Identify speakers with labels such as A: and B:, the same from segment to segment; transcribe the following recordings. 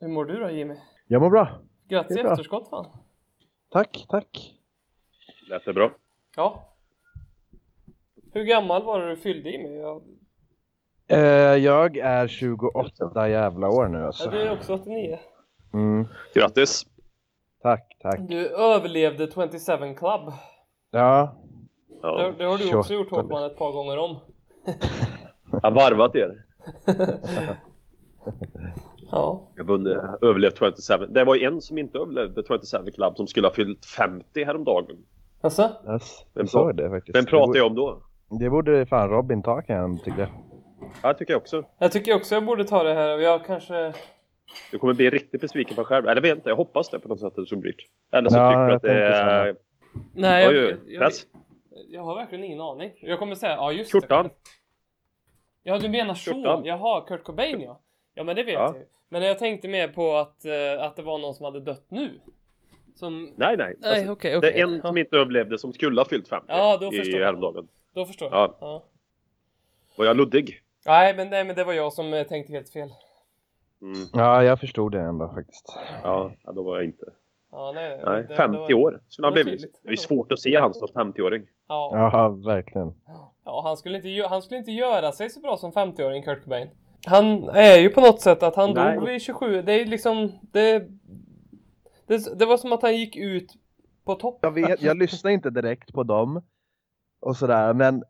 A: Hur mår du då Jimmy?
B: Jag mår bra.
A: Grattis
B: Det
A: i
B: är bra.
A: efterskott fan.
B: Tack, tack.
C: Lät det bra?
A: Ja. Hur gammal var det du fyllde Jimmy? Jag,
B: Eh, jag är 28 jävla år nu
A: ja,
B: alltså.
A: du är också 89.
B: Mm,
C: Grattis!
B: tack, tack.
A: Du överlevde 27 Club.
B: Ja,
A: Det,
C: Ja.
A: det har du också
B: 28.
A: gjort Håkman ett par gånger om.
B: liksom.
C: Jag har varvat er.
A: Ja.
C: Jag vunnit, överlevt 27. Det var ju en som inte överlevde 27 Club som skulle ha fyllt 50 häromdagen.
A: Alltså?
B: yes. jag
C: Vem pra-
B: såg det faktiskt.
C: Vem pratade
B: det,
C: jag om då?
B: borde, det borde fan Robin ta kan jag tycka.
C: Ja, det tycker jag också.
A: Jag tycker också jag borde ta det här. Jag kanske...
C: Du kommer bli riktigt besviken på dig själv. Eller vet inte, jag hoppas det på något sätt att det så blir. Eller så
B: Ja,
C: tycker du
B: jag
C: att det är...
A: Nej,
C: Oj,
A: jag,
C: oj,
A: jag, jag,
C: press.
A: jag har verkligen ingen aning. Jag kommer säga, ja just det.
C: Skjortan.
A: Ja, du menar så.
C: Skjortan.
A: Jaha, Kurt Cobain ja. Ja, men det vet
C: Ja.
A: jag. Men jag tänkte mer på att, eh, att det var någon som hade dött nu. Som...
C: Nej, nej.
A: Nej,
C: Alltså,
A: okej, okej.
C: det är en
A: Ja.
C: som inte överlevde som skulle ha fyllt 50
A: Ja, då förstår
C: i
A: jag.
C: häromdagen.
A: Då förstår jag.
C: Ja.
A: Ja.
C: Var jag luddig?
A: Nej, men, nej, men det var jag som eh, tänkte helt fel.
C: Mm.
B: Ja, jag förstod det ändå faktiskt.
C: Ja, ja, då var jag inte.
A: Ja, nej,
C: Nej,
A: det-
C: 50
A: det var-
C: år skulle han
A: det var
C: blivit.
A: tydligt.
C: Det är svårt att se han som 50-åring.
A: Ja.
B: Ja, verkligen.
A: ja, han skulle, inte, gö- han skulle inte göra sig så bra som 50-åring Kurt Cobain. Han är ju på något sätt att han
C: Nej.
A: dog vid 27. Det är liksom... Det, det, det var som att han gick ut på topp.
B: Jag vet, jag lyssnar inte direkt på dem och sådär, men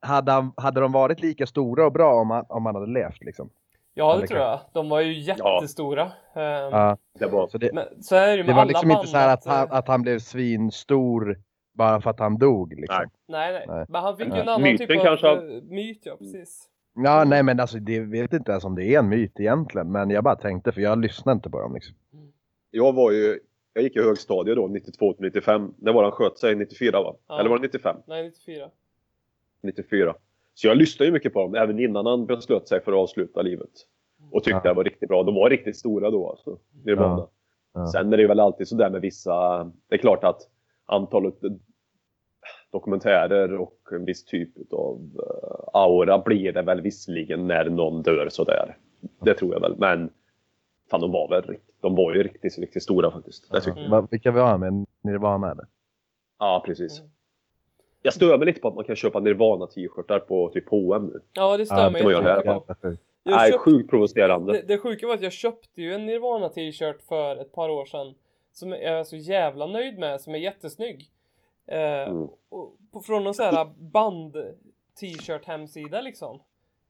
B: hade, han, hade de varit lika stora och bra om han, om han hade levt liksom?
A: Ja,
B: Ja,
A: det
B: det
A: tror jag. De var ju jättestora. Ehm,
B: Ja,
C: Det var...
B: så det,
A: Men så är det ju med
B: det var
A: alla
B: liksom
A: band.
B: inte så här att han,
A: eh,
B: att han blev svinstor bara för att han dog liksom.
A: nej,
C: Nej.
A: nej,
B: Nej.
A: Men han fick ju
B: Nej.
A: en annan
C: Myten
A: typ av
C: kanske av-
A: eh, myt, ja precis.
B: Ja, nej men alltså det vet inte ens om det är en myt egentligen, men jag bara tänkte för jag lyssnar inte på dem liksom.
C: Jag var ju... Jag gick i högstadiet då, 92 till 95. När var han sköt sig? 94 va?
A: Ja.
C: Eller var det 95?
A: Nej, 94.
C: 94. Så jag lyssnade ju mycket på dem, även innan han beslöt sig för att avsluta livet. Och tyckte
B: Ja.
C: det var riktigt bra. De var riktigt stora då alltså. Nirvana.
B: Ja. Ja.
C: Sen är det väl alltid sådär med vissa... Det är klart att antalet eh, dokumentärer och en viss typ av aura blir det väl visserligen när någon dör sådär. Det tror jag väl. Men fan, de var väl rikt- de var ju riktigt, riktigt stora faktiskt. Det tycker jag.
A: Mm.
B: Va- Vilka vi har med Nirvana eller?
C: Ja, precis.
A: Mm.
C: Jag stör mig lite på att man kan köpa Nirvana-t-shirtar på typ H&M nu.
A: Ja, det stör
B: Ja,
A: mig.
C: det var jag
A: jättemycket
C: där.
A: på.
B: Jävla sjukt.
A: Jag
C: Nej,
A: köpte-
C: sjukt provocerande.
A: Det, det sjuka var att jag köpte ju en Nirvana t-shirt för ett par år sedan. Som jag är så jävla nöjd med, som är jättesnygg. Eh,
C: Mm.
A: och, på, från någon sån här band t-shirt hemsida liksom.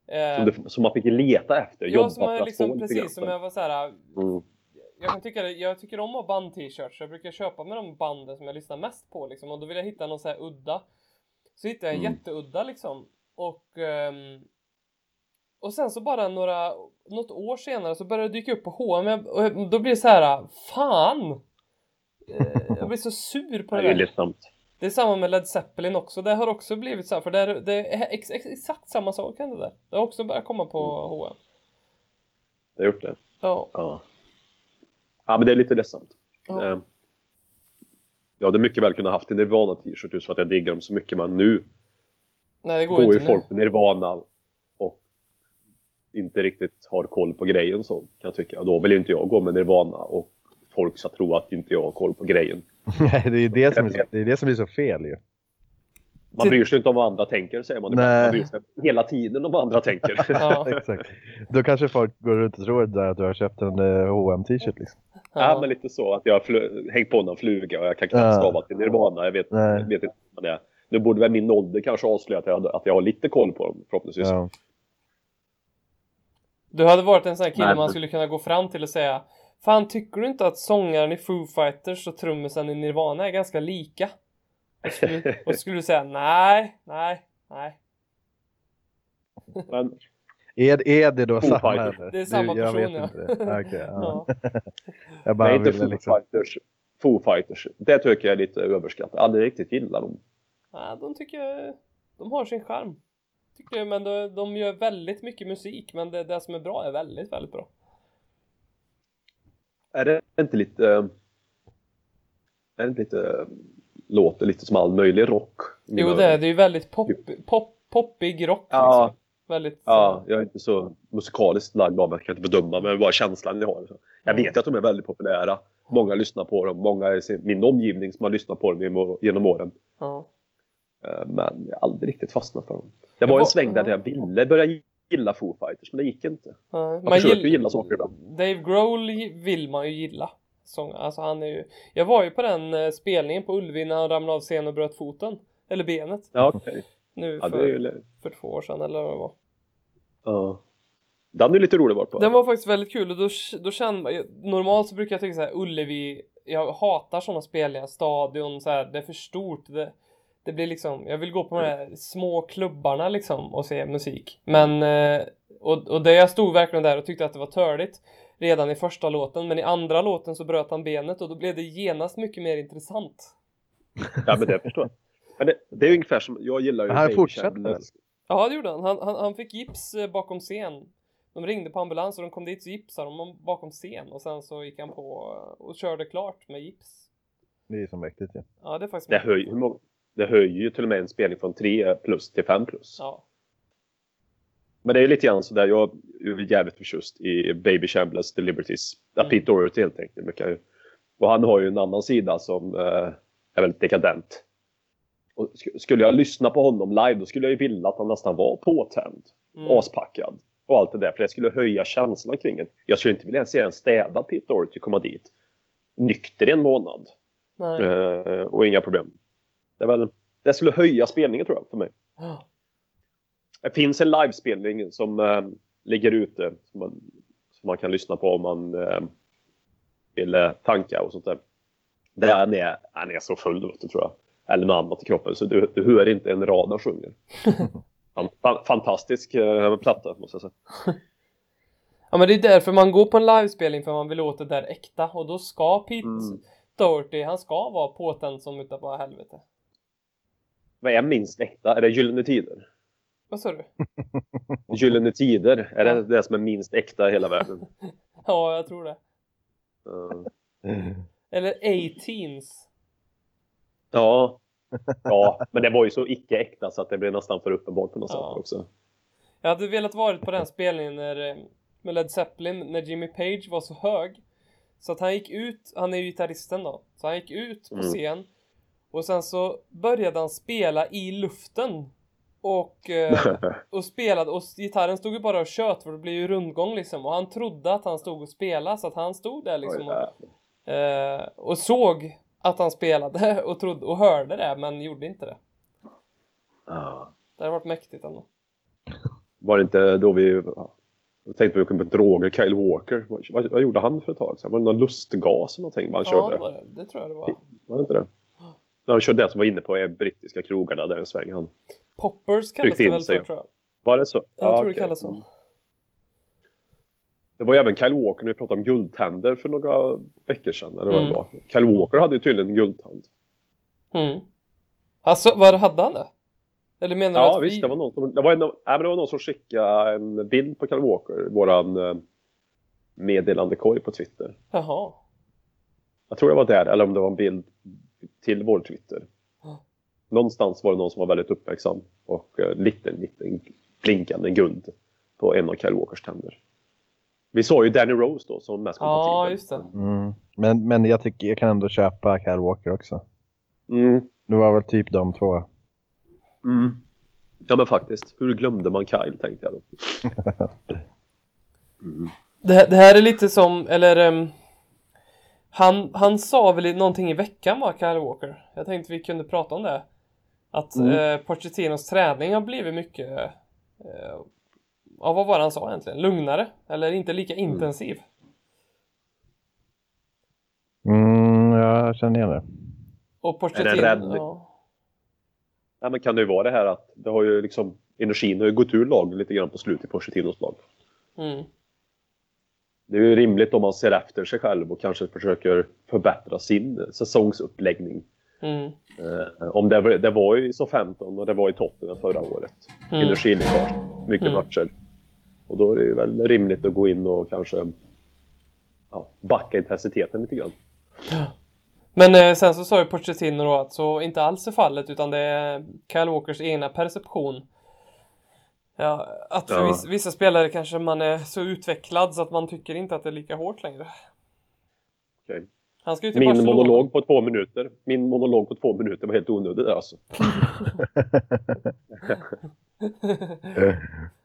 A: Eh,
C: Som, det, som man fick leta efter.
A: ja,
C: jobba
A: som
C: för
A: jag
C: att få
A: liksom
C: lite
A: precis som
C: grann.
A: jag var så här.
C: Mm.
A: Jag, kan tycka, det- jag tycker om att ha band-t-shirts, så jag brukar köpa med de banden som jag lyssnar mest på liksom. Och då vill jag hitta någon så här udda. Så hittade jag en
C: Mm.
A: jätteudda liksom. Och, ehm, och sen så bara några, något år senare så började det dyka upp på H&M Jag- och jag- då blir det så här, fan! Eh, Jag blir så sur på
C: Det
A: det
C: är ju
A: där.
C: ledsamt.
A: Det är samma med Led Zeppelin också. Det har också blivit så här, för det är, det är ex, ex, exakt samma sak hände där. Det har också börjat komma på H&M
C: Det har gjort det.
A: Ja.
C: Ja. ja, men det är lite ledsamt.
A: ja.
C: Eh, Jag hade mycket väl kunnat haft en Nirvana-t-shirt just för att jag diggar dem så mycket. Men nu
A: Nej, det går,
C: går
A: ju
C: ju
A: inte nu.
C: folk på Nirvana och inte riktigt har koll på grejen så kan jag tycka. Då vill ju inte jag gå med Nirvana och folk ska tro att inte jag har koll på grejen.
B: Nej, det är ju det som är så, det är det som är så fel ju.
C: Man bryr sig inte om vad andra tänker säger man. ibland.
B: Nej.
C: Man bryr sig hela tiden om vad andra tänker.
A: Ja,
B: Exakt. Då kanske folk går runt och tror där att du har köpt en eh, H&M t-shirt liksom.
C: Ja,
A: ja.
C: men lite så att jag har fl- hängt på någon fluga och jag kan knappt
B: Ja.
C: stava till Nirvana. Jag vet,
B: Nej.
C: jag vet inte vad det är. Nu borde väl min ålder kanske avslöja att jag, att jag har lite koll på dem förhoppningsvis.
B: Ja.
A: Du hade varit en sån här kille
C: Nej,
A: man
C: men-
A: skulle kunna gå fram till och säga Fan, tycker du inte att sångaren i Foo Fighters och trummisen i Nirvana är ganska lika? Och skulle, och skulle du säga nej, nej, nej.
C: Men
B: Är, är det då
C: Foo
B: samma?
C: Fighters.
B: eller?
A: Det är samma
B: jag
A: person,
B: vet
A: ja.
B: inte det. Ah, okej, ja.
A: Ja.
B: Jag bara
C: nej, inte
B: ville
C: Foo,
B: liksom...
C: Fighters. Foo Fighters. Det tycker jag är lite överskattat. Jag aldrig riktigt gillar dem.
A: Nej, de tycker jag, de har sin charm. Tycker jag, men de, de gör väldigt mycket musik, men det, det som är bra är väldigt, väldigt bra.
C: Är det inte lite... eh, Är det inte lite... eh, Låter lite som all möjlig rock?
A: Jo, det, är- det är ju väldigt pop, pop, poppig rock.
C: Ja,
A: liksom. Väldigt...
C: Ja, jag är inte så musikaliskt lagd av mig, jag kan inte bedöma, men bara känslan jag har. Jag
A: Mm.
C: vet att de är väldigt populära. Många lyssnar på dem, många i sin- min omgivning som har lyssnat på dem genom- genom åren.
A: ja.
C: Eh, Men jag har aldrig riktigt fastnat för dem. Det
A: Jag
C: var
A: var-
C: en sväng där jag ville börja gilla Foo Fighters, men det gick inte.
A: Ja,
C: Jag försöker ju gilla saker ibland.
A: Dave Grohl vill man ju gilla. Sång, alltså han är ju... Jag var ju på den eh, spelningen på Ullevi när han ramlade av scenen och bröt foten. Eller benet.
C: Ja, okej.
A: Nu
C: Ja, det är
A: för,
C: ju...
A: för två år sedan eller vad det var.
C: Ja. Den är lite rolig vart på.
A: Den var faktiskt väldigt kul och då, då kände man, jag- normalt så brukar jag tänka så här Ullevi, jag hatar sådana spelningar, stadion så här, det är för stort. Det, det blir liksom, jag vill gå på de här små klubbarna liksom och se musik. Men, eh, och, och det jag stod verkligen där och tyckte att det var törligt redan i första låten, men i andra låten så bröt han benet och då blev det genast mycket mer intressant.
C: Ja, men det förstår jag. Men det, det är ju ungefär som, jag gillar ju...
B: Men han
C: Dave
B: fortsätter
C: Chandler.
B: väl?
A: Ja, det gjorde han. Han, han, han fick gips eh, bakom scen. De ringde på ambulans och de kom dit så gipsade de honom bakom scen och sen så gick han på eh, och körde klart med gips.
B: Det är som mäktigt ju.
A: Ja, det är faktiskt
C: Det höjer, hur många, det höjer ju till och med en spelning från 3 plus till 5 plus.
A: Ja.
C: Men det är lite grann sådär, jag är jävligt förtjust i Baby Shambles The Liberties. Ja,
A: Mm.
C: Pete Doherty helt enkelt. mycket ju. Och han har ju en annan sida som eh, är väldigt dekadent. Och sk- skulle jag lyssna på honom live då skulle jag ju vilja att han nästan var påtänd,
A: Mm.
C: aspackad och allt det där. För det skulle höja känslan kring det. Jag skulle inte vilja se en städad Pete Doherty komma dit nykter i en månad.
A: Nej.
C: Eh, och inga problem. Det, är väl, det skulle höja spelningen tror jag för mig.
A: Ja.
C: Det finns en livespelning som eh, ligger ute som man, som man kan lyssna på om man eh, vill eh, tanka och sånt där. Där han är, han är så full vet du, tror jag. Eller något annat i kroppen så du, du hör inte en rad han sjunger. Fan- fan- Fantastisk eh, platta måste jag säga.
A: ja, men det är därför man går på en livespelning för man vill åt det där äkta och då ska Pete
C: Mm.
A: Doherty, han ska vara påtänd som utav bara helvete.
C: Vad är minst äkta? Är det Gyllene Tider?
A: Vad sa du?
C: Gyllene Tider, är det det som är minst äkta i hela världen?
A: Ja, jag tror det.
C: Eh,
B: Mm.
A: Eller A-Teens.
C: Ja. ja, men det var ju så icke äkta så att det blev nästan för uppenbart på något
A: Ja.
C: sätt också.
A: Jag hade velat varit på den spelningen när, eh, med Led Zeppelin när Jimmy Page var så hög. Så att han gick ut, han är ju gitarristen då, så han gick ut på
C: Mm.
A: scen och sen så började han spela i luften. Och, eh, och spelade och gitarren stod ju bara och tjöt för det blev ju rundgång liksom. Och han trodde att han stod och spelade så att han stod där liksom och, eh, och såg att han spelade och, trodde, och hörde det men gjorde inte det.
C: Ja.
A: Det hade varit mäktigt ändå.
C: Var det inte då vi ja, jag tänkte på vi kom på droger, Kyle Walker. Vad, vad, vad gjorde han för ett tag sedan? Var det någon lustgas eller någonting han
A: ja,
C: körde?
A: det, var det. det tror jag det var.
C: Var det inte det? När han körde det som var inne på eh, brittiska krogarna där en sväng. Han.
A: Poppers kallas
C: Tryckte
A: det
C: in
A: väl för
C: sig.
A: tror jag.
C: Var det så?
A: Jag tror det
C: okej. Mm.
A: kallas så.
C: Det var ju även Kyle Walker när vi pratade om guldtänder för några veckor sedan. Eller vad
A: Mm.
C: det var. Kyle Walker hade ju tydligen en guldtand.
A: Mm. Alltså, vad hade han det? Eller menar du
C: Ja
A: att
C: visst,
A: vi...
C: det var någon som, det var en, nej, men det var någon som skickade en bild på Kyle Walker, våran eh, meddelandekorg på Twitter.
A: Jaha.
C: Jag tror det var där, eller om det var en bild till vår Twitter.
A: Ja.
C: Någonstans var det någon som var väldigt uppmärksam och eh, lite, lite blinkande guld på en av Kyle Walkers tänder. Vi såg ju Danny Rose då som mest
A: Ja, just det.
B: Mm. Men, men jag tycker jag kan ändå köpa Kyle Walker också.
C: Mm.
B: Det var väl typ de två.
C: Mm. Ja men faktiskt, hur glömde man Kyle tänkte jag då.
A: det. här- Det här är lite som, eller... ehm, han, han sa väl i- någonting i veckan, va, Kyle Walker? Jag tänkte vi kunde prata om det. Att
C: Mm.
A: eh, Pochettinos träning har blivit mycket... Eh, ja, vad var det han sa egentligen? Lugnare? Eller inte lika intensiv?
B: Mm, jag känner igen det.
A: Och Pochettino...
C: rädd?
A: Ja.
C: Nej, men kan det ju vara det här att det har ju liksom, energin har ju gått ur laget lite grann på slutet på Pochettinos lag.
A: Mm.
C: Det är ju rimligt om man ser efter sig själv och kanske försöker förbättra sin säsongsuppläggning.
A: Mm.
C: Eh, om det, var- det var ju i så 15 och det var i Tottenham förra året.
A: Mm.
C: Energiläckage, mycket
A: Mm.
C: matcher. Och då är det ju väl rimligt att gå in och kanske ja, backa intensiteten lite grann.
A: Men eh, sen så sa ju Pochettino då att så inte alls är fallet utan det är Kyle Walkers egna perception Ja, att för
C: Ja.
A: vissa, vissa spelare kanske man är så utvecklad så att man tycker inte att det är lika hårt längre.
C: Okej.
A: Han ska ju till
C: Min
A: Barcelona.
C: monolog på två minuter. Min monolog på två minuter var helt onödig där alltså.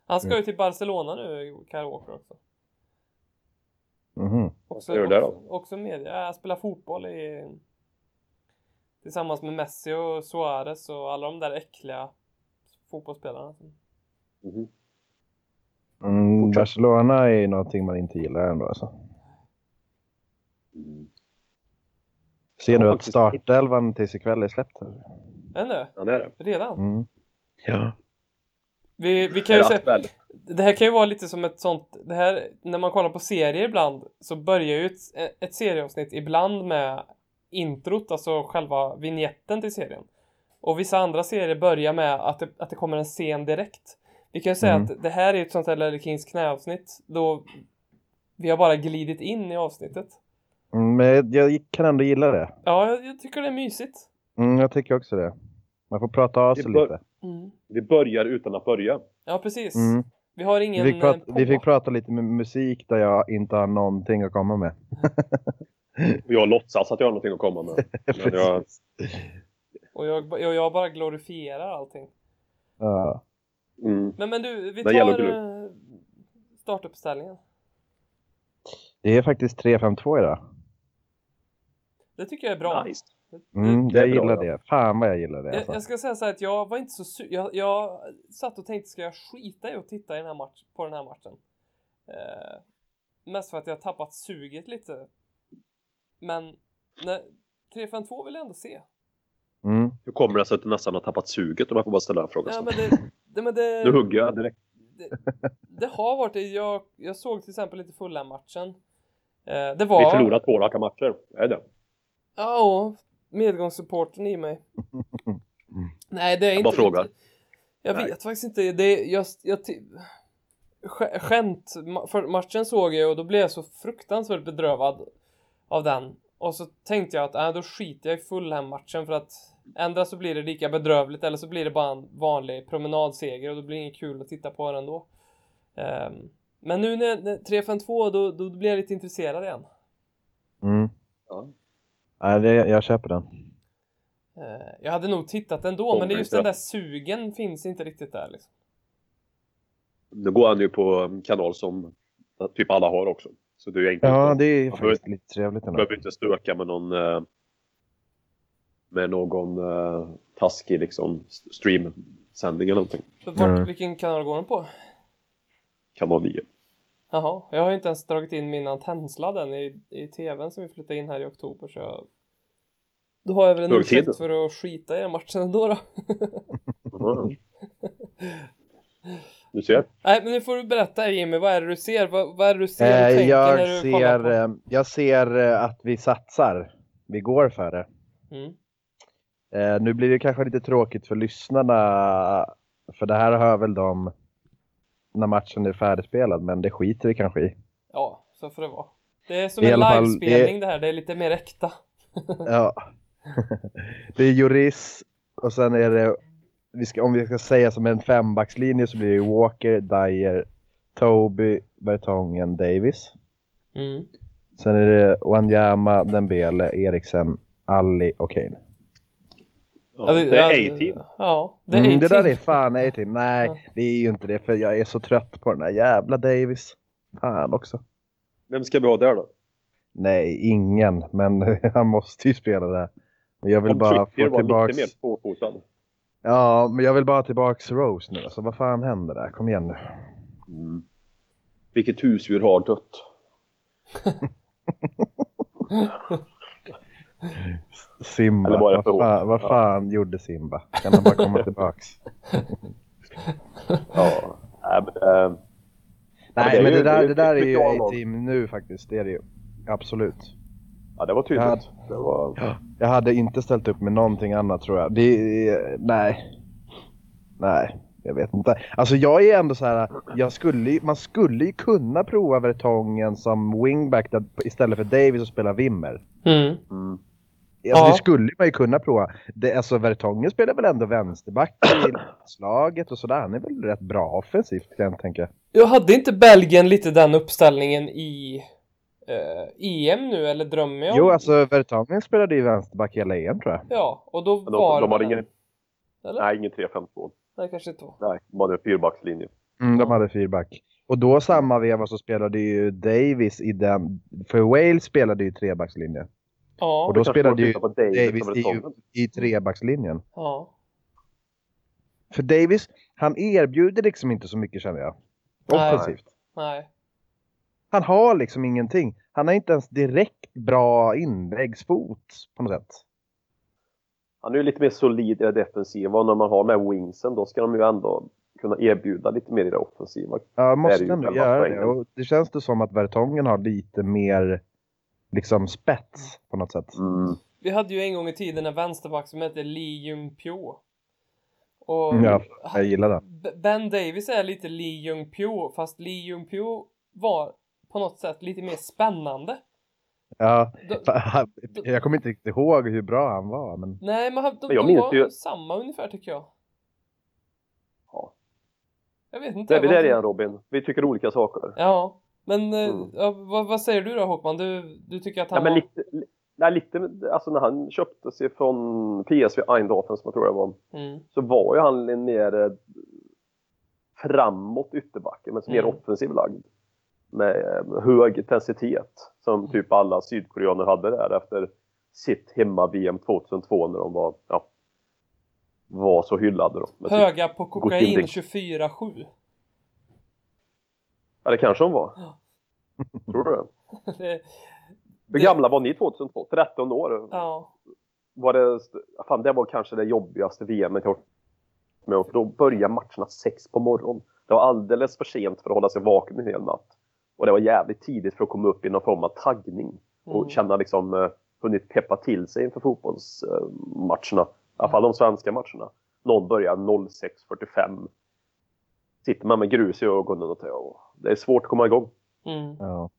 A: Han ska
C: Mm.
A: ju till Barcelona nu, Kyle Walker också.
B: Mhm.
A: Också,
C: ska du där då?
A: också, också media. Jag spelar fotboll i... Tillsammans med Messi och Suarez och alla de där äckliga fotbollsspelarna.
C: Mhm.
B: Mm, Barcelona är ju någonting man inte gillar ändå alltså.
C: Mm.
B: Ser nu
C: Ja,
B: att
C: faktiskt.
B: startelvan tills ikväll är släppt. här.
A: Ännu?
C: Ja, det är det.
A: Redan?
B: Mm. Ja.
A: Vi, vi kan
C: Är
A: ju
C: det
A: säga...
C: aktuell?
A: Det här kan ju vara lite som ett sånt, det här, när man kollar på serier ibland så börjar ju ett, ett serieavsnitt ibland med introt, alltså själva vignetten till serien. Och vissa andra serier börjar med att det, att det kommer en scen direkt. Vi kan ju säga
B: Mm.
A: att det här är ett sånt här Larry Kings knäavsnitt då vi har bara glidit in i avsnittet.
B: Mm, Men jag kan ändå gilla det.
A: Ja, jag, jag tycker det är mysigt.
B: Mm, jag tycker också det. Man får prata av sig
C: Det bör-
B: lite.
C: Vi börjar utan att börja.
A: Ja, precis.
B: Mm.
A: Vi har ingen...
B: Vi, fick prata,
A: eh,
B: vi fick
A: på.
B: prata lite med musik där jag inte har någonting att komma med.
C: Och jag låtsas att jag har någonting att komma med. Men jag,
A: Och jag, och jag bara glorifierar allting.
B: Ja.
C: mm,
A: Men, men du, vi
C: Det gäller att
A: tar eh, startuppställningen.
B: Det är faktiskt 3-5-2 idag.
A: Det tycker jag är bra.
C: nice.
B: Mm,
C: Det är
B: jag
C: bra,
B: gillar
C: ja.
B: det. Fan vad jag gillar det.
A: Jag,
B: Alltså.
A: jag ska säga så här att jag var inte så su- jag, jag satt och tänkte, ska jag skita i att titta i den här match- på den här matchen? Eh, mest för att jag tappat suget lite. Men nej, 3-5-2 vill jag ändå se.
B: Mm.
C: Hur kommer det sig att du nästan har tappat suget om jag får bara ställa en fråga?
A: Ja,
C: snabbt?
A: men det, det, men
C: Nu
A: det,
C: hugger jag direkt.
A: det har varit det. Jag, jag såg till exempel inte fulla matchen. Eh, det
C: Vi
A: var...
C: förlorar två raka matcher. Är det?
A: Ja, medgångssupporten i mig. Nej, det är inte...
C: bara frågar.
A: Jag
C: Nej.
A: vet faktiskt inte. Det är, jag, jag, ty- Sk- skämt. Ma- För matchen såg jag och då blev jag så fruktansvärt bedrövad av den. Och så tänkte jag att äh, då skiter jag i Fulham-matchen för att ändra så blir det lika bedrövligt eller så blir det bara en vanlig promenadseger och då blir det inget kul att titta på den då. Ehm, men nu när, när 3-5-2 då, då blir jag lite intresserad igen.
B: Mm.
C: Ja.
B: Ja, det, jag köper den.
A: Eh, Jag hade nog tittat ändå,
C: Kommer
A: men det är just
C: inte
A: den
C: då.
A: där sugen finns inte riktigt där liksom.
C: Nu går han ju på en kanal som typ alla har också. Så du är egentligen
B: Ja,
C: inte,
B: det är ju
C: Ja,
B: faktiskt lite trevligt ändå.
C: behöver inte stöka med någon eh, med någon eh, taskig liksom st- streamsändning eller någonting.
A: Vart,
B: Mm.
A: Vilken kanal går den på?
C: Kanal 9.
A: Jaha, jag har ju inte ens dragit in min antennsladd än i, i tvn som vi flyttade in här i oktober så jag... Då har jag väl en
C: Hög tid.
A: ursäkt för att skita i den matchen ändå då.
C: Mm. Du ser.
A: Nej, men nu får du berätta Jimmy, vad är det du ser? Vad, vad är det du ser och
B: Eh,
A: tänker
B: jag,
A: när du kollar
B: ser,
A: på?
B: eh, jag ser eh, att vi satsar. Vi går för det.
A: Mm.
B: Eh, nu blir det kanske lite tråkigt för lyssnarna, för det här hör väl de när matchen är färdigspelad, men det skiter vi kanske i.
A: Ja, så får det vara. Det är som
B: Det är
A: en
B: i alla fall-
A: livespelning det här, det är lite mer äkta.
B: Ja. det är Juris och sen är det, vi ska, om vi ska säga som en fembackslinje så blir det Walker, Dyer, Toby, Bertongen, Davis.
A: Mm.
B: Sen är det Wanyama, Dembele, Eriksen, Ali och Kane.
C: Ja, det är A-team.
A: Ja, det
B: Det,
A: är
B: mm, det där
A: A-team.
B: är fan A-team.
A: Ja.
B: Nej, det är ju inte det för jag är så trött på den där jävla Davis. Fan också.
C: Vem ska vi ha där då?
B: Nej, ingen, men han måste ju spela där. Men jag vill
C: Om
B: bara
C: Trippier
B: få
C: var
B: tillbaks...
C: lite mer tvåfotad.
B: Ja, men jag vill bara tillbaks Rose nu. Alltså vad fan händer där? Kom igen nu.
C: Mm. Vilket husdjur har dött?
B: Simba.
C: Eller bara
B: Vad
C: för hårt.
B: fan, vad
C: Ja.
B: fan gjorde Simba? Kan han bara komma tillbaks?
C: Ja. Nej, men, eh, men det
B: Nej,
C: är
B: men
C: ju-
B: det
C: det är
B: där,
C: ju
B: det där är
C: ett
B: ju
C: ritual av-
B: A-team nu faktiskt. Det är det ju. Absolut.
C: ja, det var tydligt. Det var...
B: Jag hade inte ställt upp med någonting annat tror jag. Det, eh, nej. Nej, jag vet inte. Alltså jag är ändå så här, jag skulle, ju- man skulle ju kunna prova Vertongen som wingback där, istället för Davis och spela Wimmer.
A: Mm.
C: Mm.
B: Alltså,
A: Ja.
B: Det skulle man ju kunna prova. Det, alltså Vertongen spelar väl ändå vänsterback i slaget och sådär. Han är väl rätt bra offensivt kan jag tänka.
A: Jag hade inte Belgien lite den uppställningen i eh, EM nu, eller drömmer jag?
B: Jo, alltså Vertongen spelade ju vänsterback hela EM tror jag.
A: Ja, och då
C: Men
A: var
C: de, de
A: det
C: har
A: den.
C: ingen...
A: Eller?
C: Nej, ingen 3-5-2.
A: Nej, kanske inte var.
C: Nej, de hade en fyrbackslinje.
B: Mm, de hade fyrback. Och då samma veva så spelade ju Davis i den, för Wales spelade ju trebackslinjen.
A: Ja,
B: Och då
C: Kanske
B: spelade
C: borde
B: ju
C: titta på Davis,
B: Davis
C: som
B: i-
C: Vertongen.
B: i trebackslinjen.
A: ja.
B: För Davis, han erbjuder liksom inte så mycket känner jag.
A: Nej.
B: Offensivt.
A: Nej.
B: Han har liksom ingenting. Han har inte ens direkt bra inläggsfot på något sätt.
C: Han är ju lite mer solid i det defensiva och när man har med wingsen då ska de ju ändå kunna erbjuda lite mer i det offensiva.
B: Ja,
C: Det är
B: måste
C: ju
B: ändå
C: själva
B: göra
C: poängen.
B: det. Och det känns det som att Vertongen har lite mer liksom spets på något sätt.
C: Mm.
A: Vi hade ju en gång i tiden en vänsterback som hette Lee Jung Pyo. Och
B: Ja, jag gillar det.
A: B- Ben Davis är lite Lee Jung Pyo, fast Lee Jung Pyo var på något sätt lite mer spännande.
B: Ja,
A: De,
B: fan, jag kommer inte riktigt ihåg hur bra han var, men
A: nej, men han- de,
C: Men jag
A: de
C: minns
A: var
C: ju-
A: samma ungefär tycker jag.
C: Ja.
A: Jag vet inte.
C: Det är vi
A: vad
C: där
A: som-
C: igen Robin, vi tycker olika saker.
A: Ja. Men eh,
C: Mm.
A: ja, vad, vad säger du då Håkman? Du, du tycker att han
C: Nej, men
A: var...
C: lite, li- nej, lite, alltså när han köptes ifrån PSV Eindhoven som jag tror det var,
A: Mm,
C: så var ju han en mer eh, framåt ytterbacken, men som mer
A: Mm.
C: offensiv lagd. Med eh, hög intensitet, som
A: Mm.
C: typ alla sydkoreaner hade där efter sitt hemma-VM 2002 när de var, ja, var så hyllade. Då. Men typ,
A: höga på
C: Gott
A: kokain
C: inlägg.
A: 24-7.
C: ja, det kanske de var.
A: Ja.
C: Tror du det?
A: Det-
C: Hur gamla var ni 2002? 13 år?
A: ja.
C: var det, fan, det var kanske det jobbigaste VMet jag varit med om. För Då började matcherna sex på morgonen. Det var alldeles för sent för att hålla sig vaken en hel natt. Och det var jävligt tidigt för att komma upp i någon form av taggning
A: Mm.
C: och känna liksom eh, hunnit peppa till sig inför fotbollsmatcherna. I alla fall de svenska matcherna. Någon börjar 06.45. Sitter man med grus i ögonen och tänker, "Åh, det är svårt att komma igång.
A: Mm.
B: ja.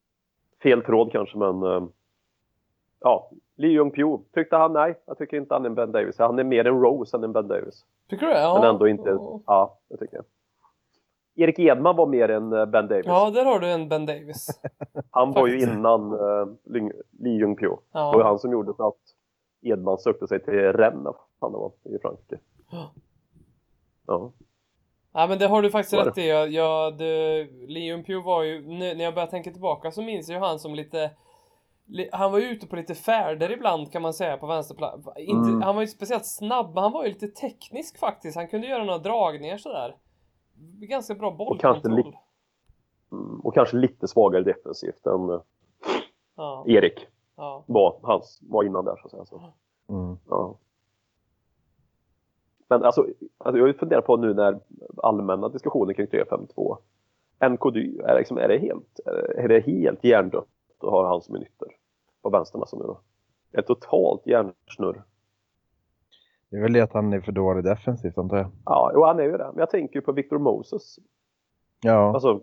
C: Fel tråd kanske, men eh, ja, Lee Jung Pyo. Tyckte han? Nej, jag tycker inte han är en Ben Davis. Han är mer en Rose än en Ben Davis.
A: Tycker du det? Ja.
C: Men ändå inte. Ja, det tycker jag. Erik Edman var mer en eh, Ben Davis.
A: Ja, där har du en Ben Davis.
C: han var ju
A: faktiskt.
C: innan uh, Lee Jung Pyo. Det var ju
A: Ja.
C: han som gjorde så att Edman sökte sig till Rennes, vad fan det var, i Frankrike.
A: Ja.
C: Ja.
A: ja, men det har du faktiskt
C: Var det?
A: rätt i. Jag, jag, det, Leon Pugh var ju, nu, när jag börjar tänka tillbaka så minns jag ju han som lite li, han var ju ute på lite färder ibland kan man säga på vänsterplan. Inte,
C: Mm.
A: Han var ju inte speciellt snabb, men han var ju lite teknisk faktiskt. Han kunde göra några dragningar sådär. Ganska bra bollkontroll.
C: lite- Mm. Och kanske lite svagare defensivt än eh,
A: Ja,
C: Erik
A: ja.
C: var, hans, var innan där så att säga. Så.
B: Mm.
C: Ja. Men alltså, alltså jag har ju funderat på nu när allmänna diskussioner kring 352. NKD, är, liksom, är det helt, är det helt hjärndött att ha han som är nytter? På vänstern alltså nu då. Ett totalt hjärnsnurr.
B: Det är väl det att han är för dålig defensivt antar jag.
C: Ja, jo, han är ju det. Men jag tänker ju på Victor Moses.
B: Ja.
C: Alltså,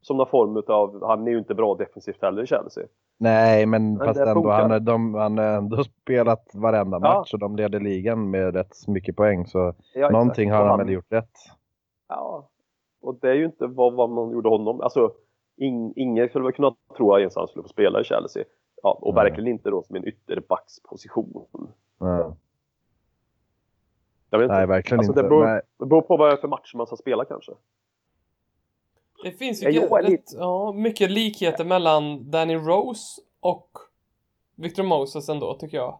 C: som någon form utav, han är ju inte bra defensivt heller i Chelsea.
B: Nej, men,
C: Men
B: fast
C: det
B: ändå,
C: funkar.
B: han, har- de, han har ändå spelat varenda
C: Ja.
B: match och de leder ligan med rätt mycket poäng. Så
C: Ja,
B: någonting
C: exakt.
B: har
C: Och
B: han väl gjort rätt.
C: Ja, och det är ju inte vad, vad man gjorde honom. Alltså, ing, ingen skulle väl kunna tro att ens han skulle få spela i Chelsea. Ja, och
B: Nej.
C: verkligen inte då som en ytterbacksposition.
B: Ja.
C: Jag vet inte.
B: Nej, verkligen
C: Alltså, det
B: inte.
C: beror-
B: Nej.
C: Det beror på vad det är för matcher man ska spela kanske.
A: Det finns ju
C: Ja, Joel
A: rätt, ja, mycket likheter mellan Danny Rose och Victor Moses ändå, tycker jag.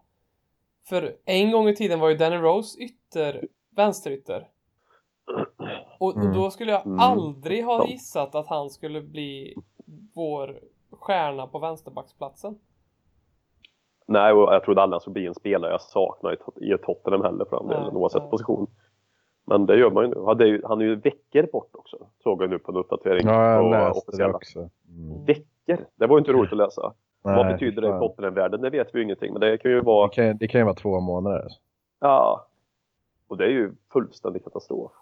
A: För en gång i tiden var ju Danny Rose ytter, vänsterytter. Och
B: Mm.
A: då skulle jag
C: Mm.
A: aldrig ha
C: Ja.
A: gissat att han skulle bli vår stjärna på vänsterbacksplatsen.
C: Nej, och jag trodde aldrig han skulle bli en spelare jag saknar i Tot- i Tottenham heller för den
A: Nej,
C: delen, oavsett
A: nej.
C: position. Men det gör man ju nu. Ja, det är ju- Han är ju veckor bort också, såg jag nu på en uppdatering.
B: Ja,
C: på
B: jag läste det
C: officiella.
B: också. Mm.
C: Veckor? Det var ju inte roligt att läsa. vad
B: Nej,
C: betyder det i
B: fan.
C: Tottenham-världen? Det vet vi ju ingenting, men det kan ju vara
B: Det kan, ju- det kan ju vara två månader. alltså.
C: Ja. Och det är ju fullständig katastrof.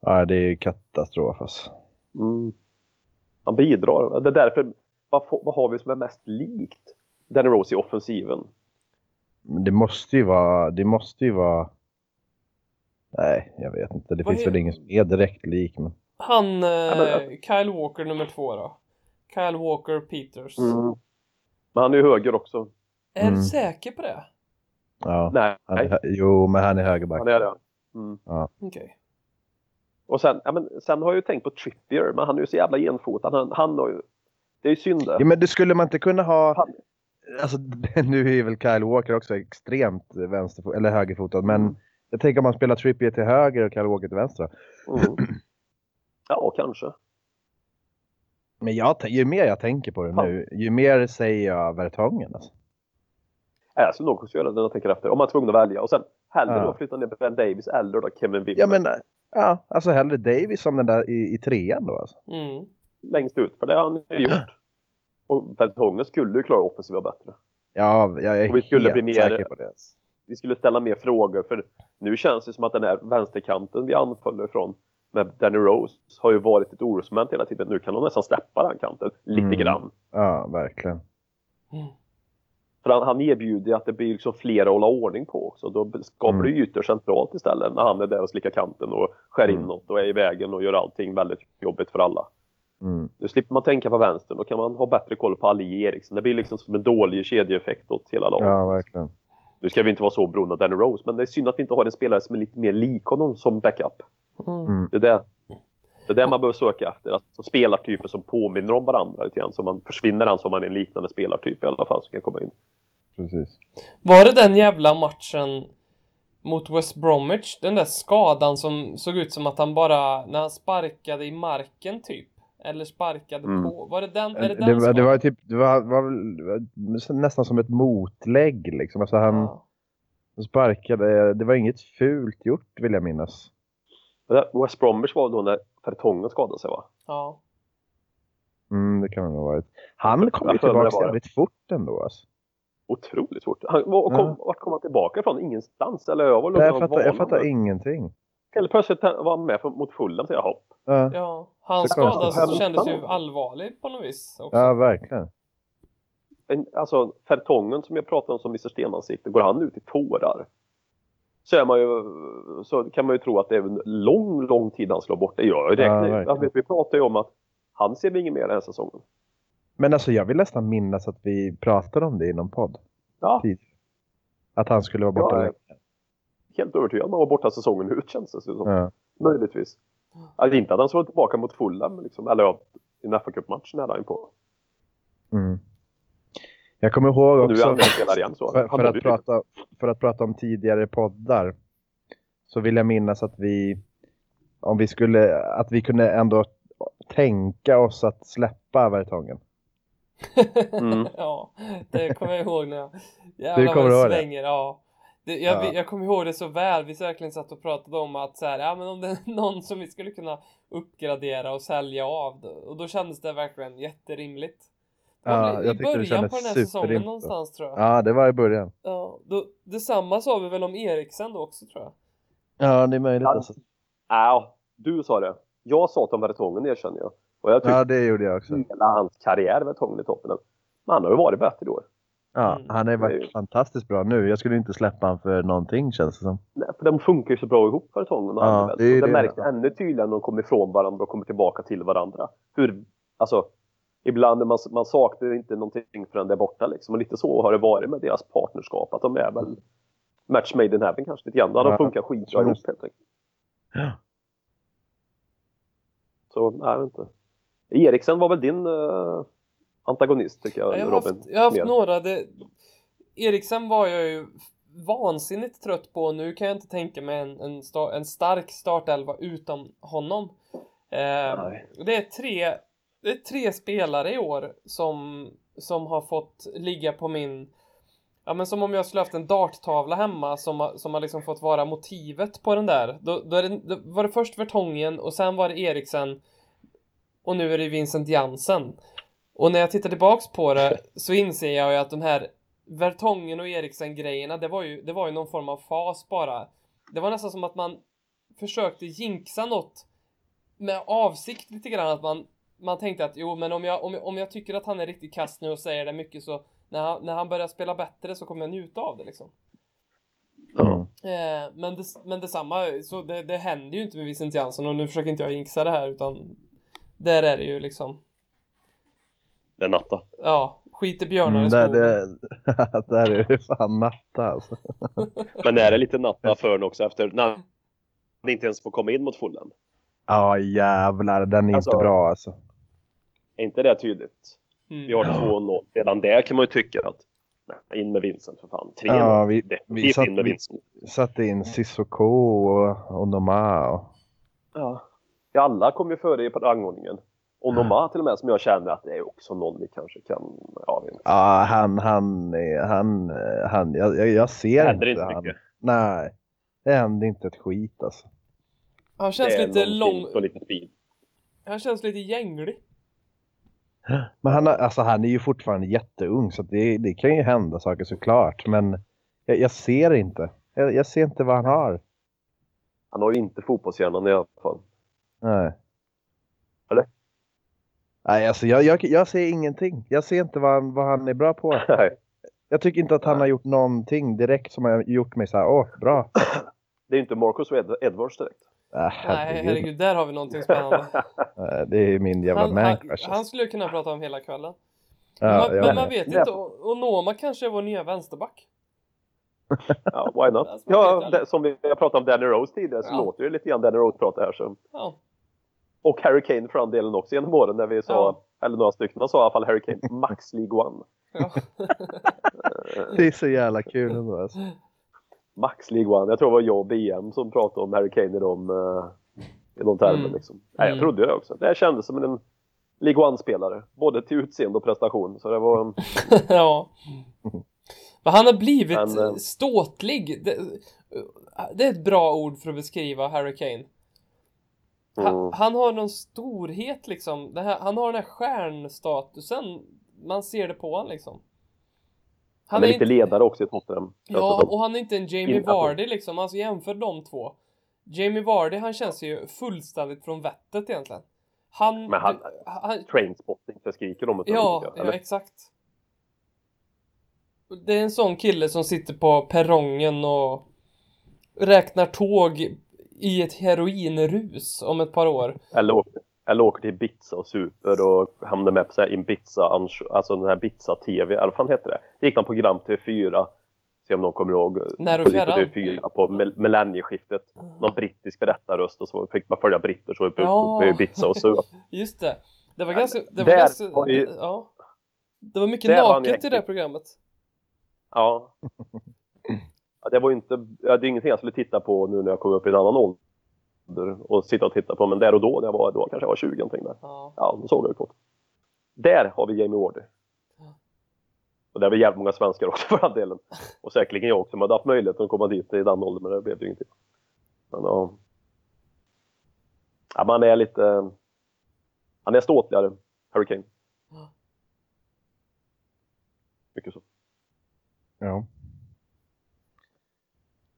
B: Ja, det är ju katastrof alltså.
C: Han bidrar. Det är därför, vad, får- vad har vi som är mest likt Danny Rose i offensiven?
B: Men det måste ju vara, det måste ju vara... Nej, jag vet inte. Det
A: Vad
B: finns
A: är-
B: väl ingen som är direkt lik. Men...
A: Han, eh,
C: men-
A: Kyle Walker nummer två då. Kyle Walker Peters.
C: Mm. Men han är ju höger också.
A: Är du
B: Mm.
A: säker på det?
B: Ja,
C: Nej,
B: han är, hö- jo, men han är högerback.
C: han är det. Mm.
A: Okej.
C: Och sen, ja, men, sen har jag ju tänkt på Trippier, men han är ju så jävla genfotad. Han, han har ju, det är ju synd det.
B: Ja, men det skulle man inte kunna ha...
C: Han-
B: Alltså, nu är väl Kyle Walker också extremt vänsterfot, eller högerfotad, men jag tänker om man spelar Trippier till höger och Kyle Walker till vänster.
C: Mm. Ja, kanske.
B: Men jag, tän- ju mer jag tänker på det nu, ju mer säger jag Vertongen. Alltså.
C: Ja, Jag skulle nog också göra det när jag tänker efter. Om man är tvungen att välja. Och sen hellre
B: Ja.
C: då flytta ner Ben Davis eller då Kevin Wimmer.
B: Ja, men ja, alltså hellre Davis som den där i, i trean då. Alltså.
A: Mm.
C: Längst ut, för det har han ju gjort. Och Bertongen skulle ju klara offensiva bättre.
B: Ja, jag är
C: Och vi skulle
B: helt
C: bli mer-
B: säker på det. alltså.
C: Vi skulle ställa mer frågor, för nu känns det som att den här vänsterkanten vi anföll ifrån med Danny Rose har ju varit ett orosmoment hela tiden. Nu kan de nästan släppa den kanten lite
B: Mm.
C: grann.
B: Ja, verkligen.
A: Mm.
C: För han, han erbjuder ju att det blir liksom flera att hålla ordning på också. Då skapar du ytor centralt istället när han är där och slickar kanten och skär
B: Mm.
C: inåt och är i vägen och gör allting väldigt jobbigt för alla.
B: Mm.
C: Nu slipper man tänka på vänstern, då kan man ha bättre koll på Ali Eriksson. Det blir liksom som en dålig kedjeeffekt åt hela laget.
B: Ja, verkligen.
C: Nu ska vi inte vara så beroende av Danny Rose, men det är synd att vi inte har en spelare som är lite mer lik honom som backup.
A: Mm.
B: Mm.
C: Det är det, det, är det man behöver söka efter, alltså spelartyper som påminner om varandra lite grann. Så man försvinner han som man är en liknande spelartyp i alla fall som kan komma in.
B: Precis.
A: Var det den jävla matchen mot West Bromwich? Den där skadan som såg ut som att han bara, när han sparkade i marken typ. Eller sparkade
C: Mm.
A: på. Var det den? Är det,
B: Det,
A: den
B: var- det
A: skadan?
B: var ju typ, det var, var väl nästan som ett motlägg liksom. Alltså han
A: Ja.
B: sparkade, det var inget fult gjort vill jag minnas.
C: Det där West Bromwich var då när Fertongen skadade sig va?
A: ja.
B: Mm, det kan det nog ha varit. Han kom
C: Jag
B: ju
C: tror det
B: tillbaka
C: var det.
B: jävligt fort ändå alltså.
C: Otroligt svårt. Han, var, kom,
B: Ja.
C: Vart kom han tillbaka ifrån? Ingenstans? Eller över?
B: Nej, jag fattar, jag fattar ingenting.
C: Eller plötsligt var han med för- mot Fulham säger jag. hopp.
B: Ja,
A: Ja. Hans
B: Så konstigt.
A: skada kändes ju allvarlig på något vis också.
B: ja verkligen.
C: En- Alltså Fertongen som jag pratade om som Mr Stenansikte, går han ut i tårar? Så, är man ju, så kan man ju tro att det är en lång, lång tid han slår bort det. Jag
B: Ja,
C: räknar,
B: verkligen.
C: vi pratade ju om att han ser vi inget mer den här säsongen.
B: Men alltså jag vill nästan minnas att vi pratade om det i någon podd.
C: Ja,
B: Tid. Att han skulle vara borta.
C: jag är
B: länge.
C: helt övertygad om att han var borta säsongen ut känns det som.
B: Ja.
C: Möjligtvis. Alltså, inte att han slår tillbaka mot Fulham, liksom, eller ja, i den fa matchen hade han ju på.
B: Mm. Jag kommer ihåg
C: Och nu är
B: också,
C: han med och spelar igen. Så.
B: för,
C: Han
B: för,
C: hade ju-
B: att prata, för att prata om tidigare poddar, så vill jag minnas att vi, om vi skulle, att vi kunde ändå tänka oss att släppa Vertongen.
C: Mm.
A: ja, det kommer jag ihåg när jag...
B: Du
A: Jävlar vad
B: kommer
A: det
B: ihåg det?
A: svänger, ja. Det, jag,
B: Ja.
A: jag kommer ihåg det så väl. Vi verkligen satt och pratade om att så här, ja, men om det är någon som vi skulle kunna uppgradera och sälja av. då- Och då kändes det verkligen jätterimligt. Det var
B: Ja,
A: väl i
B: jag tyckte det
A: början
B: kändes
A: på den här säsongen
B: superrimligt.
A: någonstans tror jag. Ja.
B: Ja, det var i början.
A: då, detsamma sa vi väl om Eriksen då också tror jag.
B: Ja, det är möjligt
C: Han-
B: alltså.
C: Ja, du sa det. Jag sa att de var tången erkänner jag. Och jag Mm. tycker
B: Ja, det gjorde jag också.
C: hela hans karriär var tången i toppen. Men han har ju varit bättre i år.
B: Ja,
A: Mm.
B: han har ju varit fantastiskt bra nu. Jag skulle inte släppa han för någonting känns det som.
C: Nej, för de funkar ju så bra ihop, Vertongen och
B: Ja,
C: Anderveld.
B: det är ju
C: Och det
B: det.
C: märks ännu tydligare när de kommer ifrån varandra och kommer tillbaka till varandra. Hur, alltså, ibland är man, man saknar inte någonting förrän det är borta liksom. Och lite så har det varit med deras partnerskap. Att de är väl match made in heaven kanske lite grann. De
B: Ja,
C: funkar skitbra
B: så
C: ihop
B: måste-
C: helt enkelt.
B: Ja.
C: Så, nej, jag vet inte. Eriksen var väl din eh, antagonist tycker jag,
A: Jag har
C: Robin.
A: haft, jag har haft
C: mer.
A: några. Det, Eriksen var jag ju vansinnigt trött på. Nu kan jag inte tänka mig en, en, sta, en stark startelva utan honom. Eh,
C: Nej.
A: det, är tre, det är tre spelare i år som, som har fått ligga på min... Ja, men som om jag skulle haft en darttavla hemma som, har- som har liksom fått vara motivet på den där. Då, då, är det, då var det först Vertongen och sen var det Eriksen och nu är det Vincent Jansen. Och när jag tittar tillbaks på det så inser jag ju att de här Vertongen och Eriksen-grejerna, det var, ju, det var ju någon form av fas bara. Det var nästan som att man försökte jinxa något med avsikt lite grann. Att man, man tänkte att jo, men om jag, om, jag- om jag tycker att han är riktigt kass nu och säger det mycket så när han, när han börjar spela bättre så kommer jag njuta av det liksom.
B: Mm.
A: Eh, men, det, men detsamma, så det, det händer ju inte med Vincent Jansson och nu försöker inte jag jinxa det här utan där är det ju liksom,
C: Det är natta.
A: ja, skiter björnar i
B: Mm,
A: skogen.
B: där, det, där är det fan natta alltså.
C: Men är det lite natta för honom också efter när han inte ens får komma in mot fullen?
B: Ja jävlar, den är
C: Alltså-
B: inte bra alltså.
C: Är inte det tydligt?
A: Mm.
C: Vi har 2-0. Redan där kan man ju tycka att nej, in med Vincent för fan. 3-0.
B: Ja, vi- vi
C: Definitivt
B: satt-
C: in med
B: vi-
C: Vincent.
B: Satte in Sissoko och Onoma och...
C: Ja. Ja, Alla kom ju före i rangordningen. Och Noma till och med som jag känner att det är också någon vi kanske kan... Ja, vi-
B: Ja, han, han, är- han, eh, han, jag, jag, jag
C: det
B: ser
C: händer
B: inte,
C: inte
B: han.
C: mycket.
B: Nej, det händer inte ett skit alltså.
A: Han
C: Det
A: känns
C: är
A: lite
C: någonting
A: lång,
C: och lite fint.
A: han känns lite gänglig.
B: Men han, har- alltså, han är ju fortfarande jätteung så att det, det kan ju hända saker såklart. Men jag, jag ser inte. Jag, jag ser inte vad han har.
C: Han har ju inte fotbollshjärnan i alla fall.
B: Nej.
C: Eller?
B: Nej, alltså jag, jag, jag ser ingenting. Jag ser inte vad han, vad han är bra på.
C: Nej.
B: Jag tycker inte att han har gjort någonting direkt som har gjort mig så här, åh, bra.
C: Det är ju inte Marcus och Ed- Edwards direkt.
B: Äh,
A: Nej,
B: herregud.
A: herregud, där har vi någonting spännande.
B: Nej, Det är min jävla
A: Han,
B: man
A: han,
B: crush.
A: han skulle jag kunna prata om hela kvällen.
B: Ja,
A: man,
B: jag
A: men
B: med.
A: man vet inte, och, och Noma kanske är vår nya vänsterback.
C: Ja, why not?
A: Alltså, man vet
C: Ja,
A: aldrig.
C: det, som vi jag pratade om Danny Rose tidigare så
A: Ja.
C: låter det lite grann Danny Rose prata här. Så.
A: Ja,
C: Och Harry Kane för den delen också genom åren när vi sa, eller några stycken sa i alla fall Harry Kane, Max League One.
A: ja.
B: Det är så jävla kul ändå alltså.
C: Max League One. Jag tror det var jag och BM som pratade om Harry Kane i de, eh, i de termer.
A: Mm.
C: Liksom. Nej, jag
A: Mm.
C: trodde det också. Det här kändes som en League One-spelare. Både till utseende och prestation. Så det var...
A: ja. Men han har blivit
C: Men, eh,
A: ståtlig. Det, det är ett bra ord för att beskriva Harry Kane.
C: Mm,
A: Han, han har någon storhet liksom. Det här, han har den här stjärnstatusen. Man ser det på honom liksom.
C: han är lite ledare också i Tottenham. Alltså, känns det
A: Ja,
C: som.
A: och han är inte en Jamie
C: Innan-
A: Vardy liksom. Alltså jämför de två. Jamie Vardy, han känns ju fullständigt från vettet egentligen. Han...
C: Men han- Alltså,
A: han
C: Trainspotting, så skriker om ett
A: ja, ja, exakt. Det är en sån kille som sitter på perrongen och räknar tåg i ett heroinrus om ett par år.
C: Eller, åker, eller åker till Ibiza och super och hamnar med på så här Ibiza, ans- alltså den här Ibiza-TV, eller vad fan heter det? Det gick någon program till 4 se om någon kommer ihåg.
A: När och
C: på lite
A: fjärran.
C: TV4 på mill- millennieskiftet. Någon brittisk berättarröst och så fick man följa britter som var uppe
A: Ja.
C: på Ibiza och så.
A: Just det. Det var
C: Ja,
A: ganska... Det var
C: där
A: ganska...
C: var ju-
A: Ja. Det var mycket
C: Där var han ju
A: naket i det här
C: riktigt-
A: programmet.
C: Ja. ja. Det var ju inte, ja, det är ingenting jag skulle titta på nu när jag kom upp i en annan ålder och sitta och titta på, men där och då, när jag var, då kanske jag var 20 någonting där.
A: Ja.
C: Ja, då såg jag ju kort. Där har vi Jamie Wardy.
A: Ja.
C: Och där har vi jävligt många svenskar också för den delen. Och säkerligen jag också, men hade haft möjlighet att komma dit i den åldern, men det blev det ju ingenting. Men ja. ja man är lite... eh, Han är ståtligare, Hurricane.
A: Ja.
C: Mycket så.
B: Ja.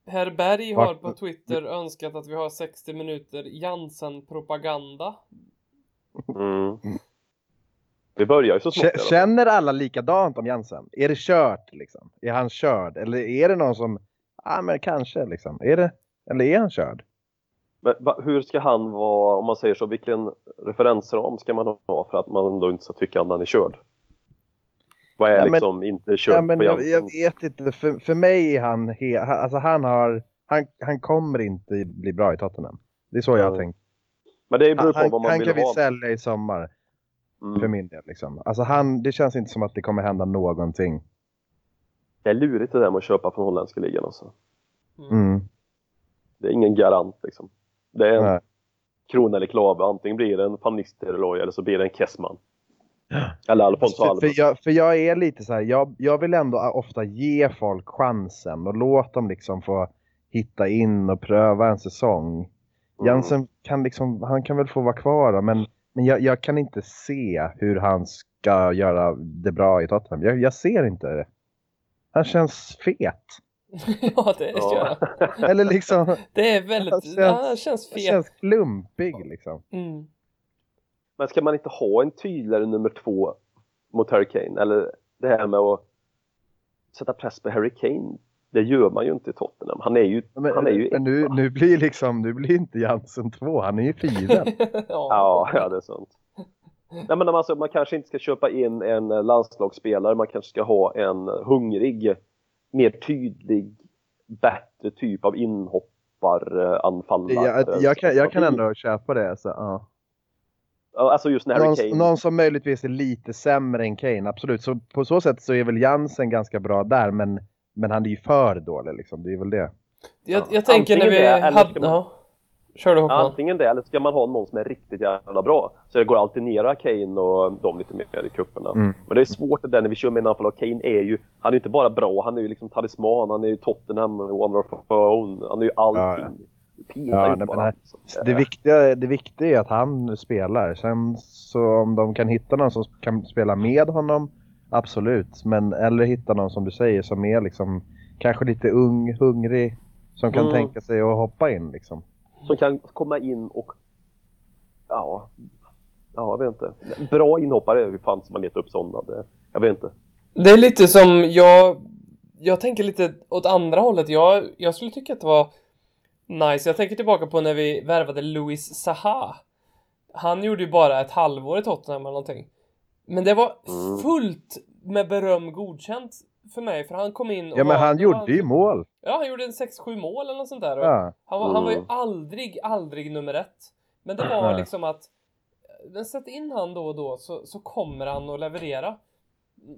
A: Herr Berg har
B: Vart-
A: på Twitter önskat att vi har 60 minuter Jansen-propaganda.
C: Mm. Vi börjar ju så smått. i
B: K-
C: alla fall.
B: Känner alla likadant om Jensen? Är det kört liksom? Är han körd? Eller är det någon som, ja ah, men kanske liksom. Är det, eller är han körd?
C: Men va, hur ska han vara, om man säger så, vilken referensram ska man ha för att man då inte ska tycka att han är körd? Vad är
B: Ja, men-
C: liksom inte körd
B: ja, men
C: på
B: jag,
C: Jansen?
B: jag vet inte, för, för mig är han, he, han, alltså han har, han, han kommer inte bli bra i Tottenham. Det är så jag
C: Ja,
B: har tänkt.
C: Men det beror
B: Han,
C: på
B: han,
C: vad man
B: han
C: vill
B: kan vi
C: ha.
B: sälja i sommar för
C: Mm.
B: min del liksom. Alltså han, det känns inte som att det kommer hända någonting.
C: Det är lurigt det där med att köpa från holländska ligan alltså.
B: Mm.
C: Det är ingen garant liksom. Det är en
B: Nej.
C: krona eller klave. Antingen blir det en Panisterloy eller så blir det en Kessman. Eller Alfonso
B: Alltså, För,
C: Alves.
B: för, jag, för jag är lite så här, jag, jag vill ändå ofta ge folk chansen och låt dem liksom få hitta in och pröva en säsong.
C: Mm.
B: Jansen kan liksom, han kan väl få vara kvar då, men, men jag, jag kan inte se hur han ska göra det bra i Tottenham. Jag, jag ser inte det. Han känns fet.
A: ja, det
C: Ja.
A: gör han.
B: Eller liksom, han
A: Det är väldigt...
B: Han känns-
A: ja, han känns fet.
B: känns klumpig liksom.
A: Mm.
C: Men ska man inte ha en tydligare nummer två mot Harry Kane? Eller det här med att sätta press på Harry Kane. Det gör man ju inte i Tottenham. Han är ju...
B: Men,
C: han är ju
B: men nu,
C: etta.
B: nu blir liksom, nu blir inte Jansen två, han är ju fyra.
C: Ja, ja, det är sant. Nej, men alltså, man kanske inte ska köpa in en landslagsspelare, man kanske ska ha en hungrig, mer tydlig, bättre typ av inhopparanfallare.
B: jag, jag, kan, jag kan ändå köpa det. Så, ja.
C: Ja, Alltså just när Harry
B: någon,
C: Kane.
B: någon som möjligtvis är lite sämre än Kane, absolut. Så på så sätt så är väl Jansen ganska bra där, men, men han är ju för dålig liksom. Det är väl det.
A: Jag, jag
C: Ja.
A: tänker när
C: Antingen
A: vi
C: det, eller
A: hade...
C: ska man-
A: Ja. Kör du Håkan.
C: Antingen det, eller ska man ha någon som är riktigt jävla bra. Så det går att alternera Kane och de lite mer i cuperna.
B: Mm.
C: Men det är svårt det där när vi kör med en anfallare. Kane är ju, han är ju inte bara bra, han är ju liksom talisman, han är ju Tottenham, One of our own. Han är ju allting. Det
B: Ja,
C: Pinar ju
B: nej,
C: bara.
B: men det-
C: Så,
B: Det
C: eh,
B: viktiga, det viktiga är att han spelar. Sen så om de kan hitta någon som kan spela med honom, absolut. Men eller hitta någon som du säger som är liksom kanske lite ung, hungrig, som kan
C: Mm.
B: tänka sig att hoppa in liksom.
C: som kan komma in och... Ja, ja jag vet inte. Bra inhoppare är det ju fan som man letar upp sådana. Det, jag vet inte.
A: Det är lite som jag... Jag tänker lite åt andra hållet. Jag, jag skulle tycka att det var nice. Jag tänker tillbaka på när vi värvade Louis Saha. Han gjorde ju bara ett halvår i Tottenham eller någonting. Men det var
C: Mm.
A: fullt med beröm godkänt för mig, för han kom in och
B: Ja men
A: var-
B: han
A: det var
B: gjorde ju mål.
A: Ja, han gjorde en 6-7 mål eller något sånt där. Och
B: Ja.
A: Han, var- han var ju
C: Mm.
A: aldrig, aldrig nummer ett. Men det var
B: Mhm.
A: liksom att men sätt in han då och då så, så kommer han att leverera.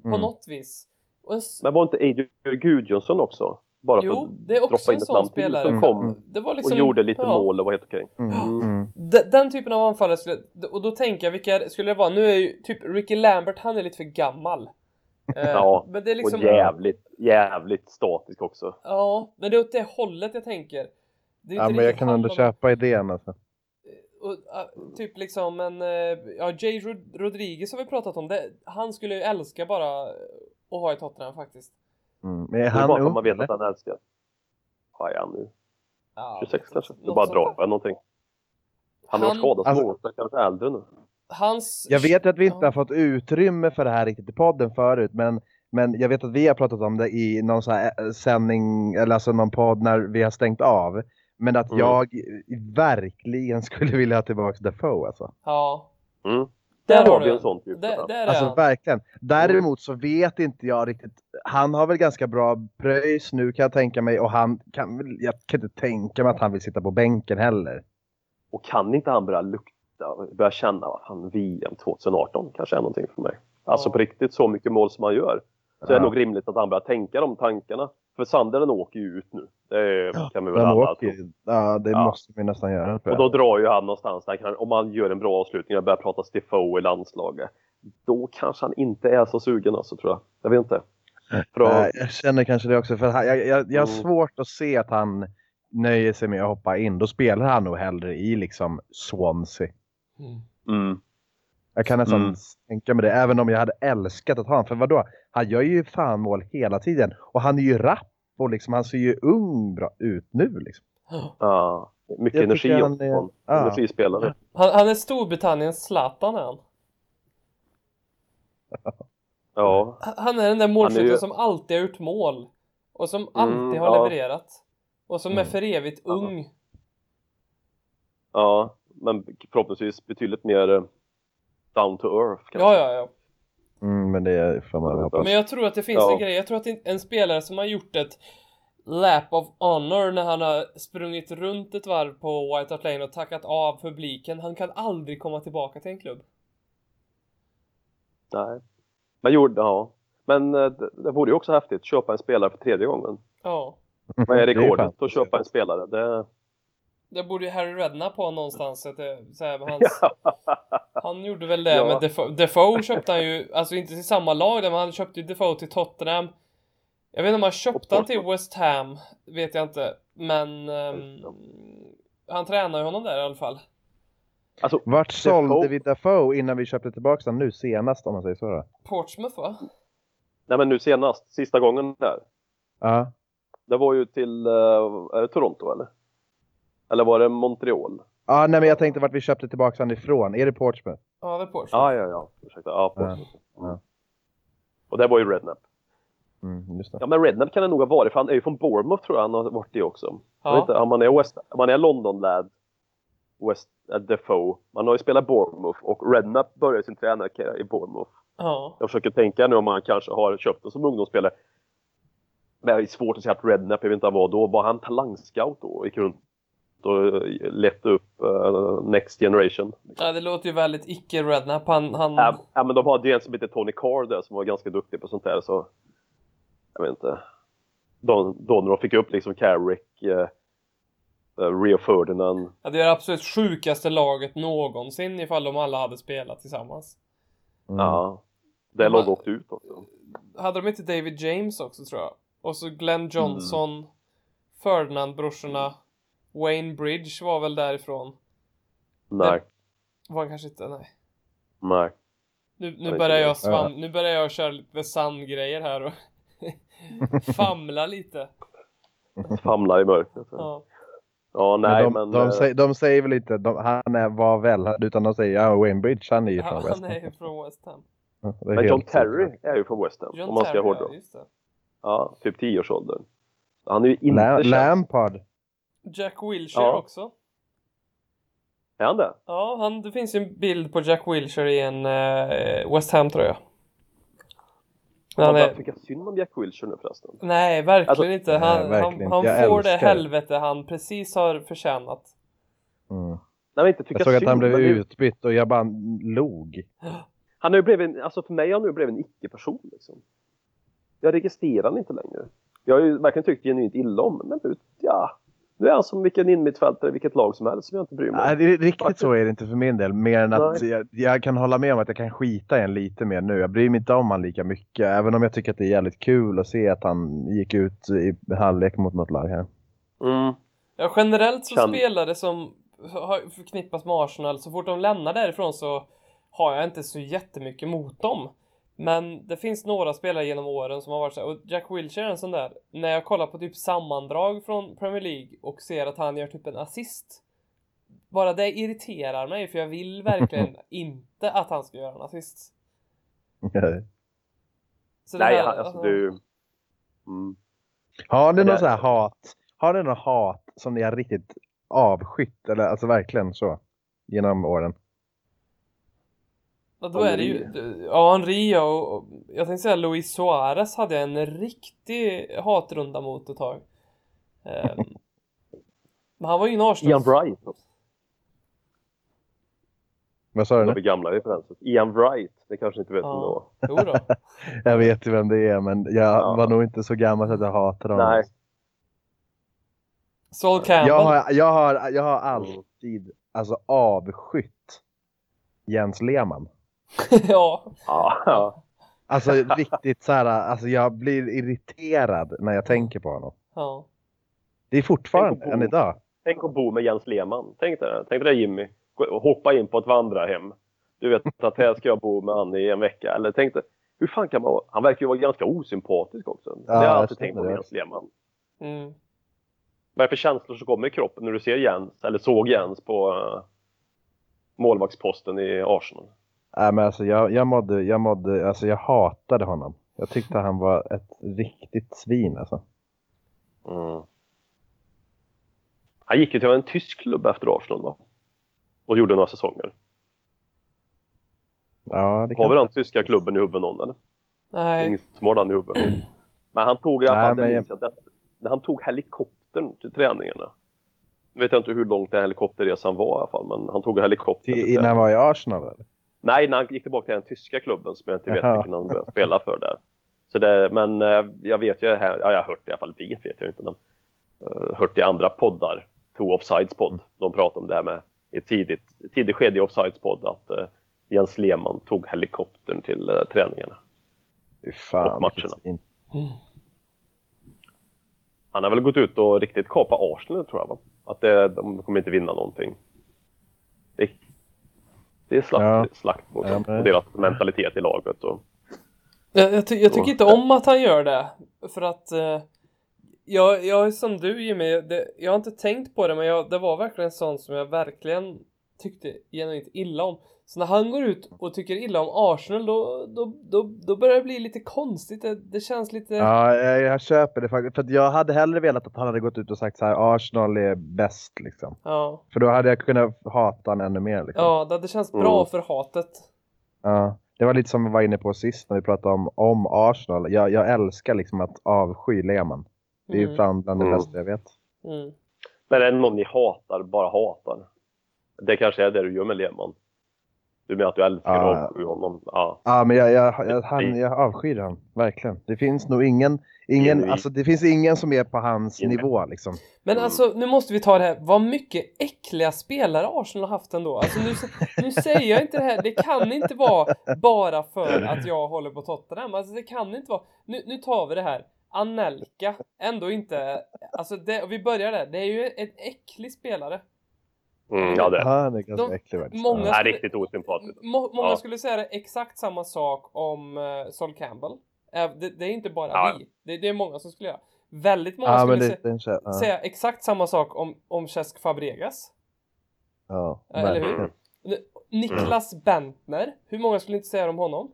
A: På
B: Mm.
A: något vis. Och en, s-
C: Men var inte Adrian Gudjonsson också? Bara för
A: jo,
C: att
A: det är också
C: droppa in
A: en
C: ett
A: sån
C: namn till
A: spelare.
C: Som kom och
A: Det var liksom,
C: gjorde lite
A: ja.
C: mål och var helt okej.
B: Mm. Mm.
A: D- den typen av anfallare skulle, och då tänker jag vilka skulle det vara? Nu är ju typ Ricky Lambert, han är lite för gammal. Eh,
C: Ja,
A: men det är liksom,
C: Och jävligt, jävligt statisk också.
A: ja, men det är åt det hållet jag tänker. Det är
B: Ja
A: inte
B: men jag
A: riktigt
B: kan
A: han
B: ändå
A: man-
B: köpa idén alltså.
A: Och, ah, typ liksom en, eh, ja Jay Rod- Rodriguez har vi pratat om, det, han skulle ju älska bara eh, att ha i Tottenham faktiskt.
B: Mm. Men är
C: det är
B: han
C: bara för
B: ung?
C: att man vet
B: eller?
C: att han älskar. Vad är han nu?
A: Ja,
C: 26 kanske? Du
A: något
C: bara
A: sånt
C: drar
A: där.
C: jag någonting. Han har varit
A: Han-
C: skadad
B: Alltså-
C: så alltså, kanske är äldre nu.
A: Hans...
B: Jag vet ju att vi inte
A: Ja.
B: har fått utrymme för det här riktigt i podden förut, men, men jag vet att vi har pratat om det i någon sån här eh, sändning, eller alltså någon podd när vi har stängt av. Men att
C: Mm.
B: jag verkligen skulle vilja ha tillbaka Defoe alltså.
A: Ja.
C: Mm.
A: Där
C: Där
A: har
C: har vi
A: du
C: en
A: den.
C: sån typ.
A: Där, där är
B: Alltså
A: han.
B: verkligen. Däremot så vet inte jag riktigt. Han har väl ganska bra pröjs nu kan jag tänka mig och han kan väl, jag kan inte tänka mig att han vill sitta på bänken heller.
C: Och kan inte han börja lukta, börja känna att han VM 2018 kanske är någonting för mig. Alltså
A: Ja.
C: på riktigt så mycket mål som han gör. Så är
B: Ja.
C: det nog rimligt att han börjar tänka de tankarna. För Sanderen åker ju ut nu. Det kan vi väl
B: Den
C: alla
B: åker
C: tro.
B: ju. Ja, det
C: Ja.
B: måste vi nästan göra. tror
C: Och
B: jag.
C: då drar ju han någonstans där, kan- om han gör en bra avslutning och börjar prata Stifoe i landslaget. Då kanske han inte är så sugen alltså tror jag. Jag vet inte. För då,
B: Nej, Eh, jag känner kanske det också. För han- jag, jag, jag har
C: Mm.
B: svårt att se att han nöjer sig med att hoppa in. Då spelar han nog hellre i liksom Swansea.
A: Mm.
C: mm,
B: Jag kan nästan
C: Mm.
B: tänka mig det. Även om jag hade älskat att ha honom. För vadå? Han gör ju fan mål hela tiden. Och han är ju rapp. Och liksom, han ser ju ung bra ut nu. Liksom.
C: ja, mycket
B: Jag
C: energi
B: tycker han
C: också.
B: är-
C: från
B: ja.
C: Energispelare.
A: Han, han är Storbritanniens Zlatan är han.
C: Ja.
A: Han- Han är den där målskytten
C: Han är ju-
A: som alltid har gjort mål. Och som
C: Mm,
A: alltid har
C: ja.
A: levererat. Och som är
B: Mm.
A: för evigt
C: Ja.
A: ung.
C: Ja, men förhoppningsvis betydligt mer eh, down to earth. kanske.
A: Ja, ja, ja.
B: Mm, men det får man väl hoppas.
A: Men jag tror att det finns
C: Ja.
A: en grej. Jag tror att en spelare som har gjort ett lap of honor när han har sprungit runt ett varv på White Hart Lane och tackat av publiken. Han kan aldrig komma tillbaka till en klubb.
C: Nej. Men gjorde, ja. Men eh, det, det vore ju också häftigt att köpa en spelare för tredje gången.
A: Ja.
C: Vad är
B: Mm, Det är
C: rekordet
B: fan.
C: att köpa en spelare? Det,
A: Det borde ju Harry Redknapp ha någonstans. Så att det, så här, med hans, Han gjorde väl det
C: Ja.
A: med Defoe. Defoe köpte han ju, alltså inte till samma lag där, men han köpte ju Defoe till Tottenham. Jag vet inte om han
C: Och
A: köpte han till West Ham, vet jag inte. Men ehm, han tränar ju honom där i alla fall.
C: alltså,
B: Vart sålde
C: Defoe-
B: vi Defoe innan vi köpte tillbaka honom nu senast om man säger så då?
A: Portsmouth va?
C: nej men nu senast, sista gången där.
B: Ja.
C: Det var ju till eh, är det Toronto eller? Eller var det Montreal?
B: Ja, nej men jag tänkte vart vi köpte tillbaka honom ifrån. Är det Portsmouth?
A: Ja, det är Portsmouth.
C: Ja, ja, ja. Ursäkta. Ja, på.
B: Ja.
C: Och det var ju Redknapp.
B: Mm, just det.
C: Ja, men Redknapp kan det nog ha varit, för han är ju från Bournemouth tror jag han har varit i också. Jag vet
A: Ja.
C: inte, om man är, West, om man är London lad West äh, Defoe. Man har ju spelat Bournemouth och Redknapp började sin tränarkarriär i Bournemouth.
A: Ja.
C: Jag försöker tänka nu om han kanske har köpt den som ungdomsspelare. Men det är svårt att säga att Redknapp, jag vet inte vad han var då. Var han talangscout då? Gick runt och eh, letade upp eh, Next Generation.
A: ja, det låter ju väldigt icke-rednap. Han, han...
C: Ja, ja, men de hade ju en som hette Tony Carr där som var ganska duktig på sånt där så... Jag vet inte. De, då när de fick upp liksom Carrick, eh, eh, Rio Ferdinand.
A: Ja, det är det absolut sjukaste laget någonsin ifall de alla hade spelat tillsammans.
B: Mm.
C: Ja. Det
A: Men-
C: laget åkte ut också.
A: Hade de inte David James också tror jag? Och så
C: Mm.
A: Glenn Johnson, Ferdinand-brorsorna, Wayne Bridge var väl därifrån?
C: Nej,
A: Var han kanske inte? Nej.
C: nej.
A: Nu,
C: vet
A: nu börjar
C: inte.
A: jag svam... Nu börjar jag köra lite The Sun-grejer här och famla lite.
C: Famlar i mörkret. Ja,
A: Ja.
C: nej
B: de,
C: men...
B: de,
C: eh,
B: säger, de säger väl inte de, han är, var väl, utan de säger ja, Wayne Bridge, han är ju från West
A: Han
B: Ham.
A: är ju från West Ham.
B: Ja, det är
C: men John
B: helt-
C: Terry är ju från West Ham,
A: John
C: om man ska
A: Terry,
C: hårdra.
A: ja, just det.
C: Ja, typ 10-årsåldern. Han är ju inte
B: La-
C: känd.
B: Lampard.
A: Jack Wilshere
C: Ja.
A: också.
C: Är han det?
A: Ja, han, det finns ju en bild på Jack Wilshere i en eh, West Ham-tröja. Men
C: Man
A: Han
C: börjar
A: är,
C: tycka synd om Jack Wilshere nu förresten.
A: nej, verkligen
C: Alltså-
A: inte. Han,
B: Nej, verkligen inte.
A: han, han
B: Jag
A: får det
B: älskar det.
A: helvete han precis har förtjänat.
B: Mm.
C: Nej, men inte tycka
B: Jag såg att
C: synd,
B: han blev
C: men det är ju-
B: utbytt och jag bara log.
C: Han har ju blivit, en- alltså för mig har han nu blivit en icke-person liksom. Jag registrerar han inte längre. Jag har ju verkligen tyckt genuint illa om honom, men nu, ja. Nu är han som vilken innermittfältare i vilket lag som helst som jag inte bryr mig
B: Nej,
C: om.
B: det är riktigt så är det inte för min del. Mer än att
C: Nej.
B: jag, jag kan hålla med om att jag kan skita i en lite mer nu. Jag bryr mig inte om han lika mycket. Även om jag tycker att det är jävligt kul att se att han gick ut i halvlek mot något lag här.
C: Mm.
A: Ja, generellt så
C: Kan-
A: spelare som har förknippas med Arsenal, så fort de lämnar därifrån så har jag inte så jättemycket mot dem. Men det finns några spelare genom åren som har varit så här, och Jack Wilshere är en sån där. När jag kollar på typ sammandrag från Premier League och ser att han gör typ en assist. Bara det irriterar mig för jag vill verkligen inte att han ska göra en assist. Så det
C: Nej,
A: här-
C: han, alltså du... Mm.
B: har ni
C: Det
B: någon
C: där-
B: sån här hat? Har ni någon hat som ni har riktigt avskytt? Eller alltså verkligen så? Genom åren?
A: Ja, då är det ju... Ja, Henri ja, och... och- Jag tänkte säga Luis Suarez hade jag en riktig hatrunda mot ett tag. Ehm, men han var ju en
C: Ian
A: Arsenal...
C: Wright.
B: Vad sa du
C: Det
B: nu?
C: var gamla referenser. Ian Wright, det kanske ni inte vet
A: Ja.
C: om det var.
A: Jo då.
B: Jag vet ju vem det är men jag
C: Ja.
B: var nog inte så gammal så att jag hatade honom.
C: Nej.
A: Sol Campbell.
B: Jag har, jag har, jag har
C: Mm.
B: alltid alltså, avskytt Jens Lehmann.
A: ja.
C: Ja, ja.
B: Alltså riktigt så här, alltså jag blir irriterad när jag tänker på honom.
A: ja.
B: Det är
C: Tänk
B: fortfarande
C: på
B: än
C: Bo.
B: idag.
C: Tänk att bo med Jens Lehmann. Tänk dig det. Tänk dig det Jimmy. Gå- Hoppa in på ett vandrarhem. Du vet att här ska jag bo med Annie i en vecka. Eller tänk dig, hur fan kan man vara? Han verkar ju vara ganska osympatisk också. det har
B: jag
C: jag alltid
B: känner
C: tänkt på
B: det.
C: med Jens Lehmann.
A: Mm.
C: Vad är det för känslor som kommer i kroppen när du ser Jens, eller såg Jens på eh, målvaktsposten i Arsenal?
B: Nej men alltså jag, jag mådde, jag mådde, alltså jag hatade honom. Jag tyckte han var ett riktigt svin alltså. Mm.
C: Han gick ju till en tysk klubb efter Arsenal va? Och gjorde några säsonger.
B: Ja, det
C: Har
B: kan...
C: vi den tyska klubben i huvudet någon eller?
A: Nej.
C: Ingen som har den i huvudet. Men han tog i alla
B: Nej,
C: fall, det
B: men-
C: minns jag, det- när han tog helikoptern till träningarna. Nu vet jag inte hur långt den helikopterresan var i alla fall, men han tog helikoptern.
B: Till-
C: Till
B: Innan
C: träningarna.
B: han var i Arsenal eller?
C: Nej, när han gick tillbaka till den tyska klubben som jag inte vet
B: Jaha.
C: vilken han började spela för där. Så det, men eh, jag vet ju, här- ja, jag har hört det i alla fall, vet, vet jag inte, men eh, hört i andra poddar, Two Offsides podd, de pratar om det här med i ett tidigt, ett tidigt skede i Offsides podd att eh, Jens Lehmann tog helikoptern till eh, träningarna.
B: Fy
C: Och
B: fan.
C: matcherna.
B: vilket svin.
C: Han har väl gått ut och riktigt kapat Arsenal tror jag va? Att det, de kommer inte vinna någonting. Det, det är slakt,
B: Ja.
C: slakt mot
B: Ja,
C: dem
B: men-
C: och deras mentalitet i laget. Och,
A: Jag, jag, ty jag tycker
C: Så.
A: inte om att han gör det. För att... Eh, jag, jag är som du Jimmy. Det, jag har inte tänkt på det men jag, det var verkligen en sån som jag verkligen tyckte genuint illa om. Så när han går ut och tycker illa om Arsenal då, då, då, då börjar det bli lite konstigt. Det, det känns lite...
B: Ja, jag, jag köper det faktiskt. För att jag hade hellre velat att han hade gått ut och sagt så här Arsenal är bäst liksom.
A: Ja.
B: För då hade jag kunnat hata honom ännu mer liksom.
A: Ja, det hade känts bra
C: Mm.
A: för hatet.
B: Ja. Det var lite som vi var inne på sist när vi pratade om, om Arsenal. Jag, jag älskar liksom att avsky Lehmann. Det är ju
A: Mm.
B: bland, bland det
C: Mm.
B: bästa jag vet.
A: Mm.
C: Men är det någon ni hatar, bara hatar? Det kanske är det du gör med Lehmann. Du menar att du älskar
B: Ja.
C: och avskyr honom? Ja.
B: Ja, men jag, jag, jag, han, jag avskyr han. Verkligen. Det finns nog ingen, ingen,
C: Genuin.
B: alltså, det finns ingen som är på hans
C: Genuin.
B: nivå liksom.
A: Men
C: Mm.
A: alltså, nu måste vi ta det här. Vad mycket äckliga spelare Arsenal har haft ändå. Alltså, nu, nu säger jag inte det här. Det kan inte vara bara för att jag håller på Tottenham. Alltså, det kan inte vara. Nu, nu tar vi det här. Anelka, ändå inte. Alltså, det, vi börjar där. Det är ju en äcklig spelare.
C: Mm, ja, det är
B: Ja, han är ganska
A: De-
B: äcklig faktiskt.
A: många-
B: Ja.
C: ja, riktigt osympatiskt.
A: Må, många
C: Ja.
A: skulle säga det exakt samma sak om eh, Sol Campbell. Eh, det, det är inte bara
C: Ja.
A: vi. Det, det är många som skulle göra. Väldigt många
B: Ja,
A: skulle
B: men det,
A: sä-
B: det är en tjej. Ja,
A: säga exakt samma sak om, om Cesc Fabregas.
B: ja,
A: Ja, eller hur?
B: verkligen.
A: Niklas
C: Mm.
A: Bentner, hur många skulle inte säga om honom?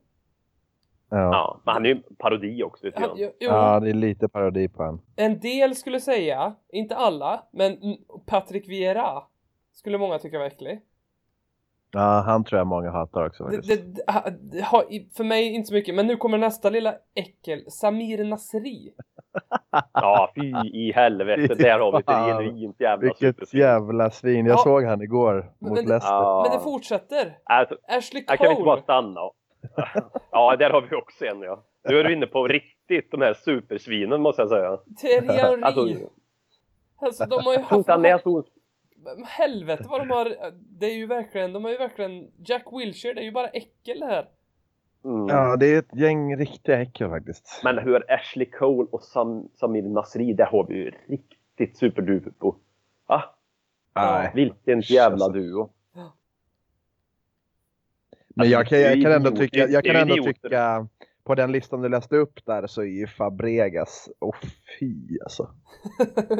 B: Ja.
C: Ja, men han är ju en parodi också lite
A: Han,
C: grann.
A: jo,
B: ja, det är lite parodi på han.
A: En del skulle säga, inte alla, men mm, Patrick Vieira skulle många tycka var äcklig.
B: Ja, han tror jag många hatar också
A: Det,
B: faktiskt.
A: det, det, ha- det har i- för mig inte så mycket, men nu kommer nästa lilla äckel. Samir Nasri.
C: Ja, fy i helvete. Där har vi ett
B: Fan.
C: genuint jävla
B: Vilket
C: superfint.
B: jävla svin. Jag
A: Ja.
B: såg han igår
A: Men-
B: mot
A: men-
B: Leicester.
C: Ja.
A: Men det fortsätter.
C: Alltså,
A: Ashley
C: här kan vi inte bara
A: Cole.
C: stanna. och- Ja, där har vi också en ja. Nu är du inne på riktigt de här supersvinen måste jag säga.
A: Thierry Henry.
C: Alltså,
A: Alltså, de har ju haft...
C: han är så...
A: Men Helvete vad de har... Det är ju verkligen... De har ju verkligen... Jack Wilshere, det är ju bara äckel det här.
C: Mm.
B: Ja, det är ett gäng riktiga äckel faktiskt.
C: Men hur Ashley Cole och Sam, Samir Nasri, där har vi ju riktigt superduper på. Ah,
B: Nej.
C: vilken jävla
B: Alltså.
C: duo.
B: Men jag kan, jag kan ändå
C: Idioter.
B: tycka, jag kan
C: Alltså, Det är
B: ändå
C: idioter.
B: tycka på den listan du läste upp där så är ju Fabregas, åh fy alltså.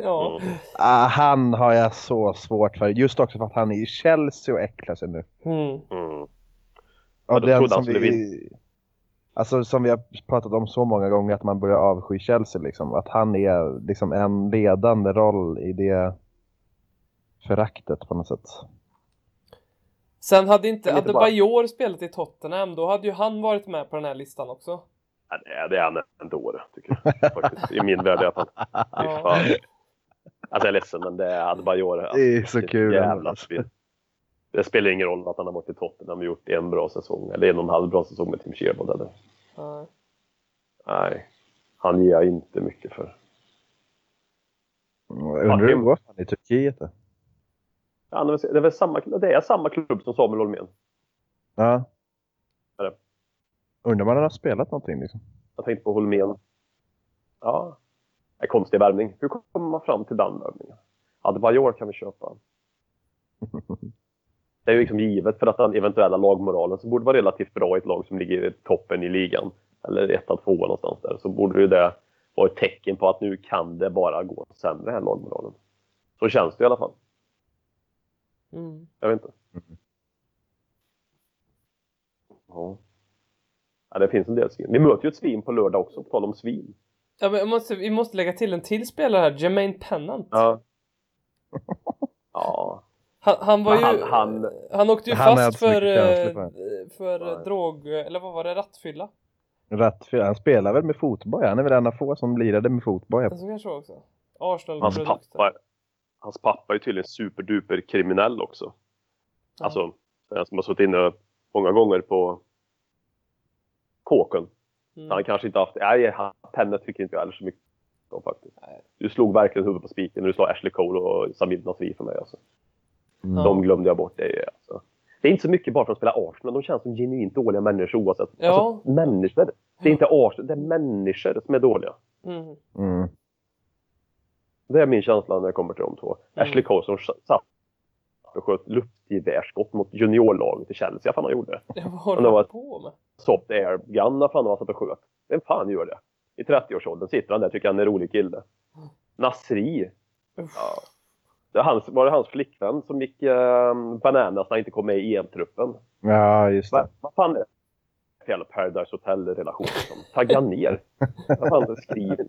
A: ja.
C: Mm.
B: Ah, han har jag så svårt för, just också för att han är i Chelsea och äcklar sig nu.
A: Mm.
C: Mm.
B: Och
C: då trodde han skulle
B: Alltså som vi har pratat om så många gånger att man börjar avsky Chelsea liksom. Att han är liksom en ledande roll i det föraktet på något sätt.
A: Sen hade inte
C: Men lite
A: Adebayor spelat i Tottenham, då hade ju han varit med på den här listan också.
C: Ja, det är- det är han ändå, tycker jag. Faktiskt. I min värld i alla fall. Fy
A: Ja.
C: fan. Alltså jag är ledsen, men det hade bara gjort det.
B: Det är så
C: Vilket
B: kul.
C: Jävla spel. Det spelar ingen roll att han har varit i Tottenham och gjort en bra säsong, eller en och en halv bra säsong med Tim Sherwood. Eller?
A: Ja.
C: Nej, han ger jag inte mycket för.
B: Undrar hur det går för han i Turkiet då?
C: Ja, det är väl- det är väl samma, det är samma klubb som Samuel Holmén.
B: Ja.
C: Är det?
B: Undrar om han har spelat någonting liksom.
C: Jag tänkte på Holmén. Ja, det är konstig värvning. Hur kommer man fram till den värvningen? Adebayor kan vi köpa. Det är ju liksom givet för att den eventuella lagmoralen som borde vara relativt bra i ett lag som ligger i toppen i ligan, eller etta, tvåa någonstans där, så borde ju det vara ett tecken på att nu kan det bara gå sämre här lagmoralen. Så känns det i alla fall.
A: Mm.
C: Jag vet inte. Ja. ja, det finns en del svin. Vi möter ju ett svin på lördag också, på tal om svin.
A: Ja, men jag måste, vi måste lägga till en till spelare här, Jermaine Pennant.
C: Ja. Ja.
A: Han, han var ju...
C: Men
A: Han,
C: han- han-
A: åkte ju
B: Han har
A: fast
B: inte så mycket
A: för,
B: känslor
A: eh,
B: för
A: för eh,
C: Nej.
A: drog... Eller vad var det? Rattfylla?
B: Rattfylla. Han spelar väl med fotboja? Han är väl en av få som lirade med fotboja.
A: Den som kanske var också. Arsenal
C: Hans
A: produkter.
C: pappa, hans pappa är ju tydligen superduper kriminell också.
A: Ja.
C: Alltså, den som har suttit inne många gånger på kåken.
A: Mm.
C: Han kanske inte haft... Nej, han- Penne tycker inte jag heller så mycket om faktiskt.
A: Nej.
C: Du slog verkligen huvudet på spiken när du slog Ashley Cole och Samir Nasri för mig. Alltså.
B: Mm.
A: Ja.
C: De glömde jag bort. Det, är ju, alltså. det är inte så mycket bara för att spela Arsenal. De känns som genuint dåliga människor oavsett.
A: Ja.
C: Alltså, människor. Det är inte Arsenal, det är människor som är dåliga.
A: Mm.
B: Mm.
C: Det är min känsla när jag kommer till de två.
A: Mm.
C: Ashley Cole som satt och sköt luftgevärsskott mot juniorlaget i Chelsea. Fan han gjorde.
A: Vad håller
C: Men det
A: han
C: var-
A: på med?
C: Soft air gun fan han satt och sköt. Vem fan gör det? I 30-årsåldern sitter han där tycker han är en rolig kille. Nasri.
A: Mm. Uff.
C: Ja. ehm, Det var hans, var det hans flickvän som gick eh, bananas när han inte kom med i EM-truppen?
B: Ja, just det.
C: Vad, vad fan är det? för Jävla Paradise Hotel-relation. Liksom. Tagga ner. Vad fan skriver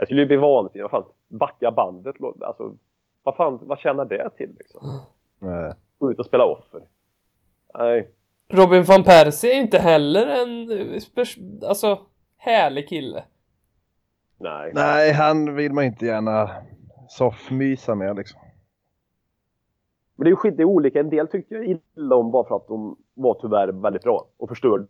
C: Det skulle ju bli vansinnigt. Vad fan, backa bandet. lå- Alltså, vad fan, vad tjänar det till liksom?
B: Nej.
C: Gå ut och spela offer. Nej.
A: Robin van Persie är inte heller en eh, spers- alltså, härlig kille.
C: Nej.
B: Nej, han vill man inte gärna soffmysa med liksom.
C: Men det är ju skit, det är olika. En del tyckte jag illa om bara för att de var tyvärr väldigt bra och förstörde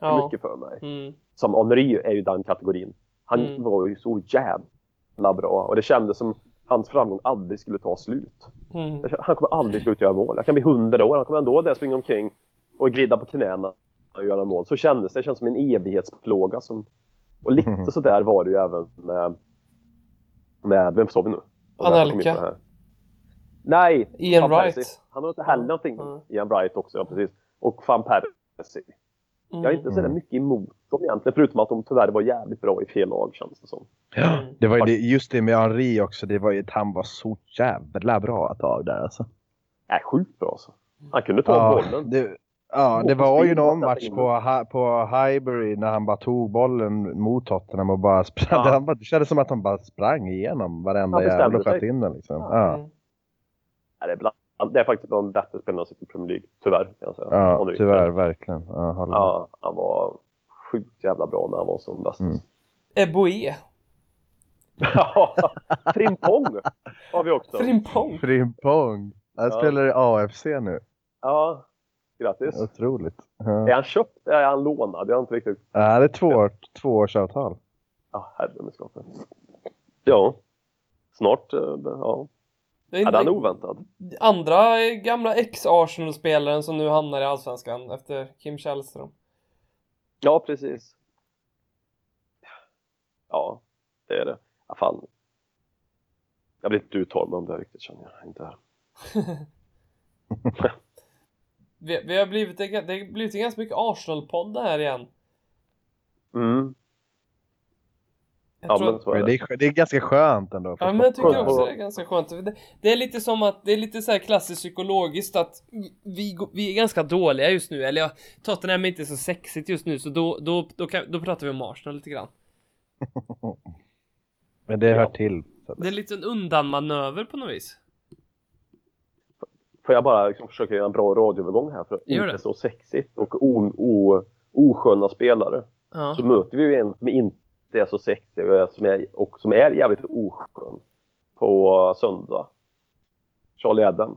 A: Ja.
C: mycket för mig.
A: Mm.
C: Som Henry är ju den kategorin. Han
A: Mm.
C: var ju så jävla bra och det kändes som hans framgång aldrig skulle ta slut.
A: Mm.
C: Jag kände, Han kommer aldrig sluta göra mål. Han kan bli hundra år. Han kommer ändå där springa omkring och glida på knäna och göra mål. Så kändes det. Det känns som en evighetsplåga. Som... Och
A: Mhm.
C: lite sådär var det ju även med... med vem sa vi nu? Och därför kom vi in på det
A: Anelka.
C: här. Nej,
A: Ian
C: Van
A: Wright.
C: Persie. Han har inte heller någonting.
A: Mm.
C: Ian Wright också, ja precis. Och van Persie. Jag är
A: Mm.
C: inte sådär
B: Mm.
C: mycket emot dem egentligen, förutom att de tyvärr var jävligt bra i fel lag känns det som.
B: Ja,
C: Mm.
B: det var ju det, just det med Henri också. Det var ju att han var så jävla bra ett tag där alltså.
C: Är sjukt bra alltså. Han kunde ta bollen.
B: det, ja, det var ju någon match på, Hi- på Highbury när han bara tog bollen mot Tottenham och bara sprang.
C: Ja.
B: Han bara, det kändes som att han bara sprang igenom varenda
C: Han bestämde
B: jävel och sköt
C: sig.
B: in den liksom.
A: Ja.
B: Ja.
A: Mm.
C: Ja, Det är, bland, det är faktiskt de bättre spelarna som sitter i Premier League, tyvärr. Kan jag säga. Om
B: Ja,
C: det är-
B: tyvärr, verkligen. Ja, håller med.
C: Ja, han var sjukt jävla bra när han var som bäst.
B: Mm.
A: Eboe.
C: Ja, Frimpong har vi också.
A: Frimpong.
B: Frimpong. Han
C: Ja.
B: spelar i AFC nu.
C: Ja, grattis.
B: Otroligt. Ja.
C: Är han köpt? Är han lånad? Jag har inte riktigt...
B: Ja, det är två, år, tvåårsavtal.
C: Ja, herre min skapare. Ja, snart. eh, Ja,
A: Det
C: ja, den är
A: inte
C: oväntad.
A: andra gamla ex-Arsenal-spelaren som nu hamnar i Allsvenskan efter Kim Källström.
C: Ja, precis. Ja, det är det. Ja, fan. Jag blir inte uttalad om det här riktigt känner jag. Inte här.
A: Vi, vi har blivit, det har blivit ganska mycket Arsenal-podd det här igen.
C: Mm.
A: Jag
C: Ja,
A: tror
C: men
A: att,
C: så är
B: Men det,
C: det.
B: är, skö- det är ganska skönt ändå. för
A: ja, men jag tycker
C: skönt.
A: också det är ganska skönt. Det, det är lite som att, det är lite så här klassiskt psykologiskt att vi, går- vi är ganska dåliga just nu. Eller ja, Tottenham är inte så sexigt just nu så då, då, då, kan, då pratar vi om Arsenal lite grann.
B: Men det hör till.
A: Det är lite en undanmanöver på något vis.
C: Får jag bara liksom försöka göra en bra radioövergång här för att
A: Gör
C: inte
A: det.
C: så sexigt och o, o, osköna spelare.
A: Ja.
C: Så möter vi ju en som inte är så sexig och som är, och som är jävligt oskön på söndag. Charlie Adam.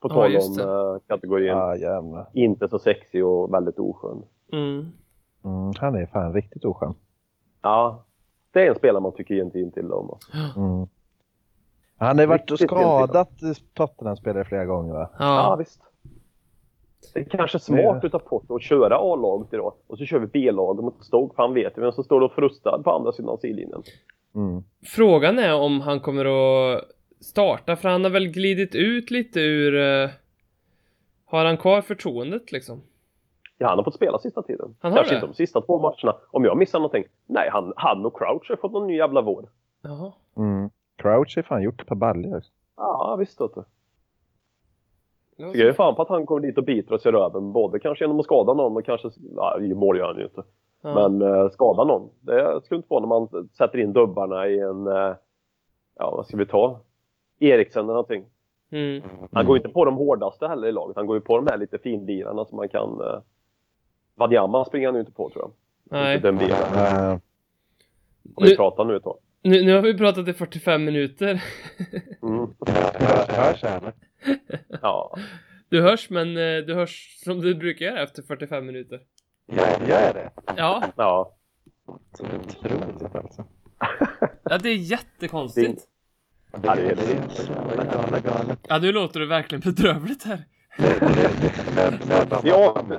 C: På
A: Ja,
C: tal
A: just
C: om
A: det.
C: eh, kategorin
B: Ja, Ah, jävlar.
C: inte så sexig och väldigt oskön.
A: Mm.
B: Mm, han är fan riktigt oskön.
C: Ja, det är en spelare man tycker egentligen inte illa om. alltså.
B: Mm. Han har ju varit och
C: Riktigt
B: skadat Tottenham-spelare flera gånger va?
C: Ja,
A: Ja.
C: visst. Det är kanske smart utav Potter att köra A-laget idag och så kör vi B-laget mot Stoke för han vet ju vem som står och frustad på andra sidan sidlinjen.
B: Mm.
A: Frågan är om han kommer att starta, för han har väl glidit ut lite ur... eh, Har han kvar förtroendet liksom?
C: Ja, han har fått spela sista tiden.
A: Han har
C: Kanske
A: det?
C: inte de sista två matcherna. Om jag missar någonting. Nej, han, han och Crouch har fått någon ny jävla vård.
A: Jaha.
B: Mm. Crouch har fan gjort ett par baljor.
C: Ja, visst vet du.
A: Det var
C: Jag är
A: så.
C: fan på att han kommer dit och biter oss i röven. Både kanske genom att skada någon och kanske... Ja, i mål gör han ju inte.
A: Ja.
C: Men eh, skada någon. Det skulle inte vara när man sätter in dubbarna i en... Eh, ja, vad ska vi ta? Eriksen eller någonting.
A: Mm.
C: Han går ju inte på de hårdaste heller i laget. Han går ju på de här lite finlirarna som man kan... Eh, Wanyama springer han ju inte på tror jag.
A: Nej.
C: Inte Den bilen.
B: Eh,
C: Om vi
A: Nu-
C: pratar nu ett tag.
A: Nu, nu har vi pratat i 45 minuter.
C: Mm.
B: hörs här?
C: Ja.
A: Du hörs, men eh, du hörs som du brukar göra efter 45 minuter.
B: Gör jag det?
A: Ja,
C: Ja.
B: Så otroligt alltså.
A: ja det är jättekonstigt.
C: Ja, det är det.
A: Ja, nu låter du verkligen bedrövligt här.
C: Vi, av...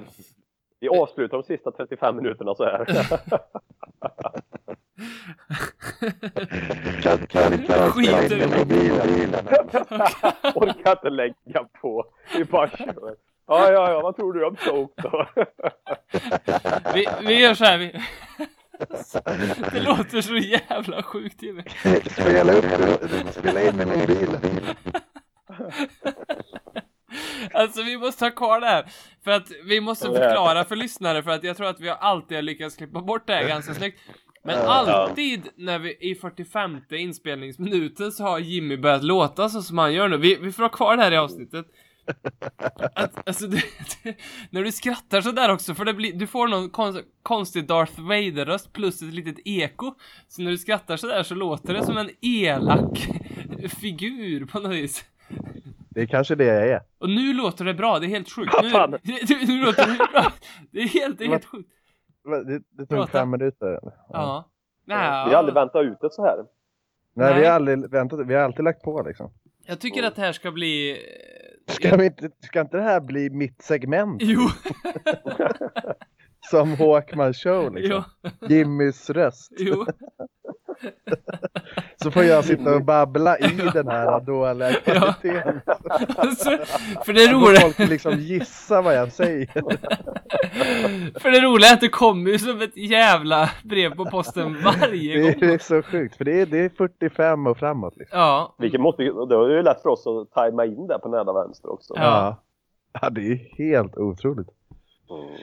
C: vi avslutar de sista 35 minuterna så här.
A: Skiter i
C: Orkar inte lägga på. Vi bara kör. Ja, ja, ja, vad tror du om Stoke då?
A: vi, vi gör så här. Vi... Det låter så jävla sjukt, Jimmy.
D: Spela upp, spela in med min bil.
A: Ja, Alltså vi måste ha kvar det här. För att vi måste
C: Ja.
A: förklara för lyssnare för att jag tror att vi alltid har lyckats klippa bort det här ganska snyggt. Men
B: Ja.
A: alltid när vi i 45 inspelningsminuten så har Jimmy börjat låta så som han gör nu. Vi, vi får ha kvar det här i avsnittet. Att, alltså, du, du, när du skrattar så där också, för det blir, du får någon konst, konstig Darth Vader-röst plus ett litet eko. Så när du skrattar så där så låter det som en elak figur på något vis.
B: Det är kanske det jag är.
A: Och nu låter det bra, det är helt sjukt. Nu,
C: Fan.
A: nu, nu låter det bra. Det är helt, det är helt sjukt.
B: Men Det, det
A: Prata.
B: tog fem minuter.
A: Ja.
C: Vi har aldrig
A: Nej,
C: väntat ut det så här.
B: Nej,
A: Nej.
B: vi har aldrig väntat. Vi har alltid lagt på liksom.
A: jag tycker att det här ska bli... eh,
B: Ska, vi inte, ska inte det här bli mitt segment?
A: Jo,
B: Som Håkman show liksom.
A: jo,
B: Jimmys röst.
A: jo.
B: Så får jag sitta och babbla i den här dåliga kvaliteten.
A: Alltså, för det
B: Då
A: roliga...
B: folk liksom gissa vad jag säger.
A: För det roliga är att det kommer ju som ett jävla brev på posten varje
B: Det
A: gång.
B: är så sjukt. För det är, det är 45 och framåt liksom.
A: Ja.
C: Vilket måste, ju- och det är ju lätt för oss att tajma in det på nära vänster också.
A: Ja.
B: Ja, det är helt otroligt.
C: Mm.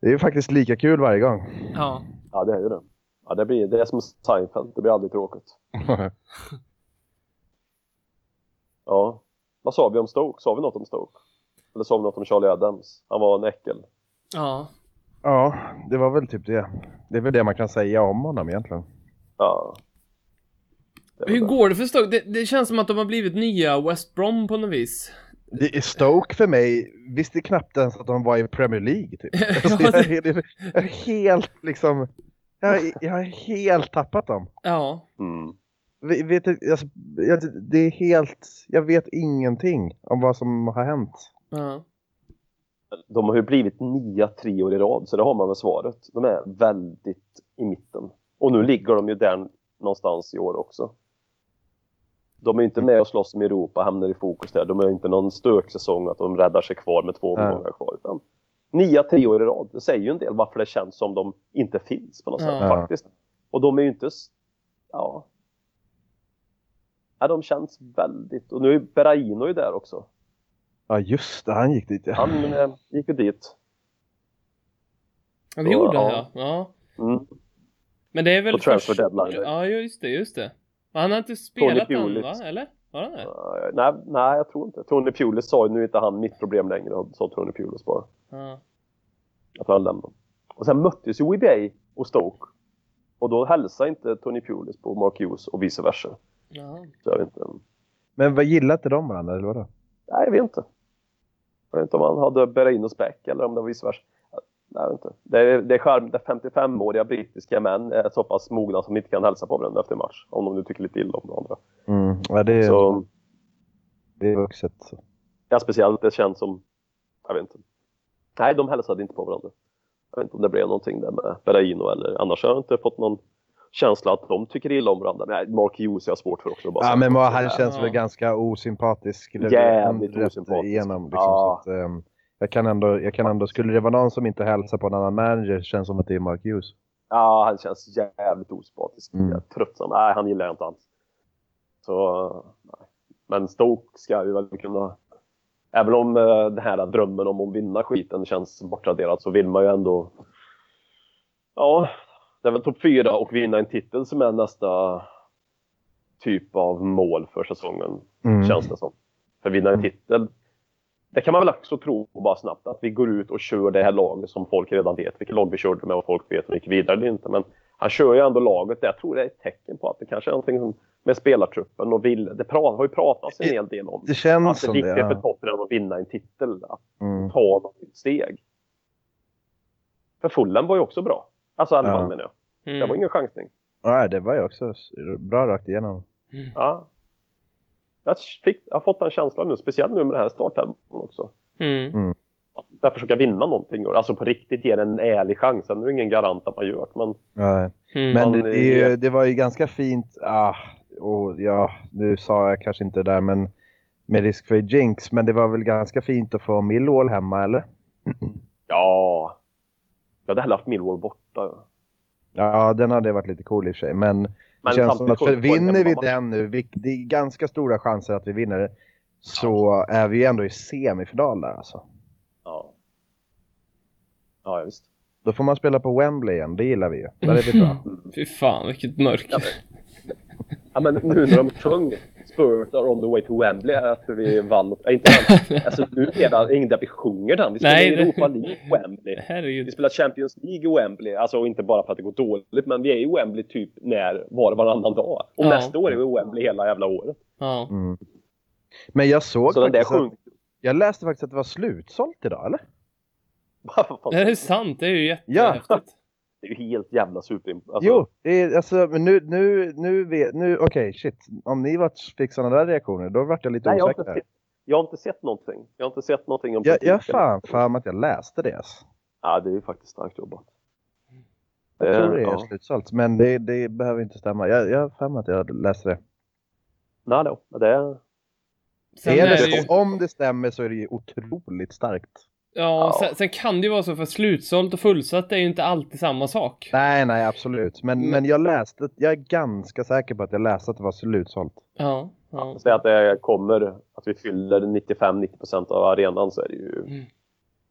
B: Det är ju faktiskt lika kul varje gång.
A: Ja.
C: Ja, det är ju det. Ja, det, blir, det är som Seinfeld, det blir aldrig tråkigt. Ja. Vad sa vi om Stoke? Sa vi något om Stoke? Eller sa vi något om Charlie Adams? Han var en äckel.
A: Ja.
B: Ja, det var väl typ det. Det är väl det man kan säga om honom egentligen.
C: Ja. Det är väl
A: Hur
C: det.
A: går det för Stoke? Det, det känns som att de har blivit nya West Brom på något vis.
B: Det är Stoke för mig visste knappt ens att de var i Premier League. Typ.
A: Ja,
B: Alltså, jag, är, jag är helt liksom... Jag, är- jag har helt tappat dem.
A: Ja.
C: Mm.
B: Vi- Vet, inte- alltså, jag, det är helt... Jag vet ingenting om vad som har hänt.
A: ja.
C: De har ju blivit nia tre år i rad, så det har man väl svaret. De är väldigt i mitten. Och nu ligger de ju där någonstans i år också. De är ju inte med och slåss om Europa, hamnar i fokus där. De är ju inte någon stöksäsong att de räddar sig kvar med två
B: Nej.
C: omgångar kvar. Utan nia, tre år i rad. Det säger ju en del varför det känns som de inte finns på något sätt
A: Ja.
C: faktiskt. Och de är ju inte... s- Ja. ja. De känns väldigt... Och nu är Berahino ju där också.
B: Ja, just det. Han gick dit. Ja.
C: Han eh, gick ju dit.
A: Ja, det gjorde
C: Ja.
A: han ja. ja.
C: Mm.
A: Men det är väl...
C: På transfer
A: först-
C: deadline.
A: Ja, ju- just det, just det. Men Han har inte spelat än
C: Pulis.
A: va? Eller? Har han det?
C: Eh, Nej, nej, jag tror inte. Tony Pulis sa ju nu är inte han mitt problem längre, och sa Tony Pulis bara.
A: Ja.
C: Att han lämnade. Och sen möttes ju WBA och Stoke. Och då hälsade inte Tony Pulis på Mark Hughes och vice versa.
A: Ja.
C: Så jag vet inte.
B: Men vad gillade inte de varandra eller vadå?
C: Nej, jag vet inte. Jag vet inte om han hade Berainos back eller om det var vice versa. Nej, jag vet inte. Det är, det är charm, det 55-åriga brittiska män är så pass mogna som inte kan hälsa på varandra efter match. Om de nu tycker lite illa om varandra.
B: Mm, ja, det, är,
C: Så,
B: det är vuxet. så.
C: ja, speciellt det känns som... Jag vet inte. Nej, de hälsade inte på varandra. Jag vet inte om det blev någonting där med Berraino eller annars har jag inte fått någon känsla att de tycker illa om varandra. Nej, Mark Hughes är jag svårt för också. Bara
B: Ja,
C: så.
B: men vad- han
C: Ja.
B: känns väl ganska osympatisk. eller
C: Jävligt
B: rätt
C: osympatisk.
B: Igenom, liksom,
C: Ja.
B: så att, ehm, jag, kan ändå, jag kan ändå, skulle det vara någon som inte hälsar på en annan manager känns som att det är Mark Hughes.
C: Ja, han känns jävligt osympatisk.
B: Mm.
C: Jag är Tröttsam. Nej, han gillar jag inte alls. Så, nej. Men Stoke ska ju väl kunna... Även om eh, den här drömmen om att vinna skiten känns bortraderad så vill man ju ändå... Ja, det är väl topp fyra och vinna en titel som är nästa typ av mål för säsongen,
B: Mm.
C: känns det som. För vinna en titel, det kan man väl också tro på bara snabbt, att vi går ut och kör det här laget som folk redan vet vilket lag vi körde med och folk vet om vi gick vidare eller inte. Men han kör ju ändå laget. Jag tror det är ett tecken på att det kanske är någonting som- med spelartruppen och vill, det pra- har ju pratats en hel del om.
B: Det känns
C: Att det
B: som
C: viktiga
B: det.
C: för
B: Ja.
C: Tottenham att vinna en titel, att
B: Mm.
C: ta något steg. För Fulham var ju också bra. Alltså Alvan
B: Ja.
C: menar jag. Det var
A: Mm.
C: ingen chansning.
B: ja, det var ju också s- bra rakt igenom.
A: Mm.
C: Ja. Jag, fick, jag har fått den känslan nu, speciellt nu med den här startelvan också.
A: Mm.
C: Att försöka vinna någonting. och Alltså på riktigt ge den en ärlig chans. Sen är det ingen garant att man gör det. Men
B: Ja.
A: Mm.
B: Men
C: Mm.
B: det, är ju, det var ju ganska fint, ah, och ja, nu sa jag kanske inte det där men med risk för jinx, men det var väl ganska fint att få Millwall hemma eller?
C: ja. Jag hade hellre haft Millwall borta.
B: Ja, den hade varit lite cool i och för sig. Men, det känns som
C: samtidigt
B: att för
C: får- får en
B: vinner vi
C: hemmamatch.
B: den nu, vi, det är ganska stora chanser att vi vinner. så är vi ju ändå i semifinal där alltså.
C: Ja. Ja, visst.
B: Då får man spela på Wembley igen, det gillar vi ju. Där är vi bra.
A: Fy fan, vilket mörker.
C: Ja, men nu när de sjöng Spurs are on the way to Wembley efter vi vann mot... Äh, inte vann. Alltså nu är det ingen där vi sjunger den. Vi spelar
A: Nej,
C: i
A: det-
C: Europa League i Wembley. Vi
A: Herregud.
C: spelar Champions League i Wembley. Alltså och inte bara för att det går dåligt, men vi är i Wembley typ när, var och varannan dag. Och
A: Ja.
C: nästa år är vi i Wembley hela jävla året.
A: Ja.
B: Mm. Men jag såg
C: Så den där
B: faktiskt att,
C: sjung...
B: jag läste faktiskt att det var slutsålt idag, eller?
C: Vad fan,
A: Det är sant, det är ju jättehäftigt.
B: Ja.
C: Det är ju helt jävla super... Alltså,
B: Jo, det är, alltså, men nu, nu, nu, vet- nu okej, shit. Om ni vart, fick sådana där reaktioner, då vart jag lite
C: Nej, jag, har inte
B: osäker.
C: sett, jag har inte sett någonting. Jag har inte sett någonting om
B: Jag, jag har
C: kritiken.
B: fan fan att jag läste det. Alltså.
C: Ja, det är ju faktiskt starkt jobbat.
B: Jag tror det är
C: Eh, ja.
B: slutsålt, men det, det behöver inte stämma. Jag, jag har fan att jag läste det.
C: Nej då, det är...
A: Sen
B: är det
A: är det ju,
B: så- Om det stämmer så är det ju otroligt starkt.
A: ja, sen, sen kan det ju vara så för slutsålt och fullsatt är ju inte alltid samma sak.
B: Nej, nej, absolut. Men,
A: Mm.
B: men jag läste, jag är ganska säker på att jag läste att det var slutsålt.
A: Ja, ja.
C: Säg att det kommer, att vi fyller 95-90% av arenan så är det ju,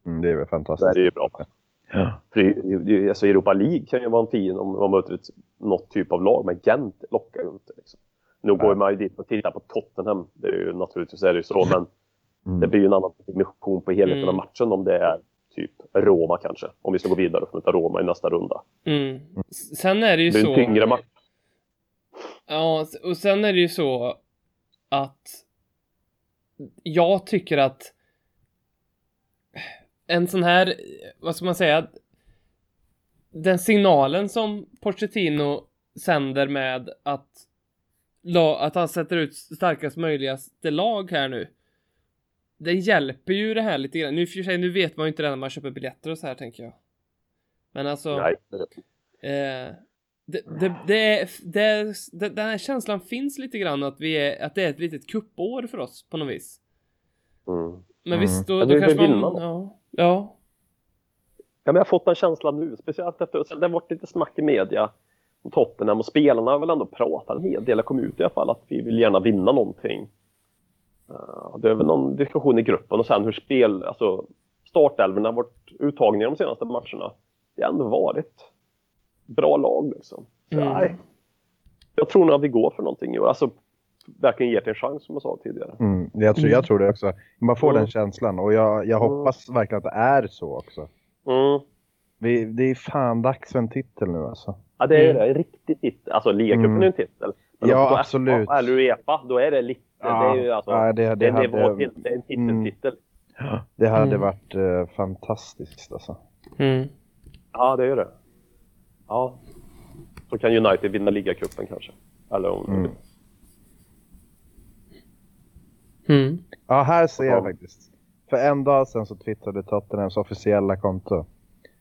B: Mm, det är väl
C: så
B: fantastiskt.
C: är det ju bra. För det, det, det, alltså Europa League kan ju vara en fin om man möter ett, något typ av lag, men Gent lockar ju inte. Liksom. Nu går man ju dit och tittar på Tottenham, det är ju, naturligtvis är det ju så, men det
B: Mm.
C: blir ju en annan dimension på helheten av
A: Mm.
C: matchen om det är typ Roma kanske, om vi ska gå vidare och möta Roma i nästa runda.
A: Mm. S- Sen är det ju
C: Det är ju
A: så.
C: en tyngre match.
A: Ja, s- och sen är det ju så att jag tycker att en sån här, vad ska man säga, den signalen som Pochettino sänder med att, la- att han sätter ut starkast möjligaste lag här nu. Den hjälper ju det här lite grann. Nu, i och för sig, nu vet man ju inte det när man köper biljetter och så här tänker jag. Men alltså.
C: Nej, det är det.
A: Eh, det, det, det, är- det, är- det, den här känslan finns lite grann att, vi är, att det är ett litet kuppår för oss på något vis.
C: Mm.
A: Men
B: Mm.
A: visst, då,
C: Ja,
A: då
C: det- det
A: kanske
C: vill
A: man...
C: man.
A: Ja, ja.
C: Ja, men jag har fått en känsla nu, speciellt efter sen det har varit lite snack i media om Tottenham och spelarna har väl ändå pratat en hel del, har kommit ut i alla fall, att vi vill gärna vinna någonting. Eh, Det är väl någon diskussion i gruppen och sen hur spel, alltså startelvorna har varit uttagna i de senaste matcherna. Det har ändå varit bra lag liksom. Så,
A: Mm.
C: nej, jag tror nog att vi går för någonting i år. Alltså, verkligen ger det en chans som jag sa tidigare.
B: Mm, jag, tror, jag tror det också. Man får
C: Mm.
B: den känslan och jag, jag
C: Mm.
B: hoppas verkligen att det är så också.
C: Mm.
B: Vi, det är fan dags för en titel nu alltså.
C: Ja, det är
A: Mm.
C: det. En riktig titel. Alltså, ligacupen
B: Mm.
C: är ju en titel.
B: Ja,
C: om du får
B: absolut.
C: FA Eller Uefa, E då är det lite... det är ju alltså...
B: ja, det, det,
C: det, är en
B: hade,
C: nivå till. Det är en
B: Mm.
C: titeltitel.
B: det hade
A: Mm.
B: varit eh, fantastiskt alltså.
A: Mm.
C: Ja, det är det. Ja. Så kan United vinna ligacupen kanske. Eller om...
B: Mm.
A: Mm.
B: Ja, här ser jag
C: Ja.
B: faktiskt. För en dag sedan så twittrade Tottenhams officiella konto.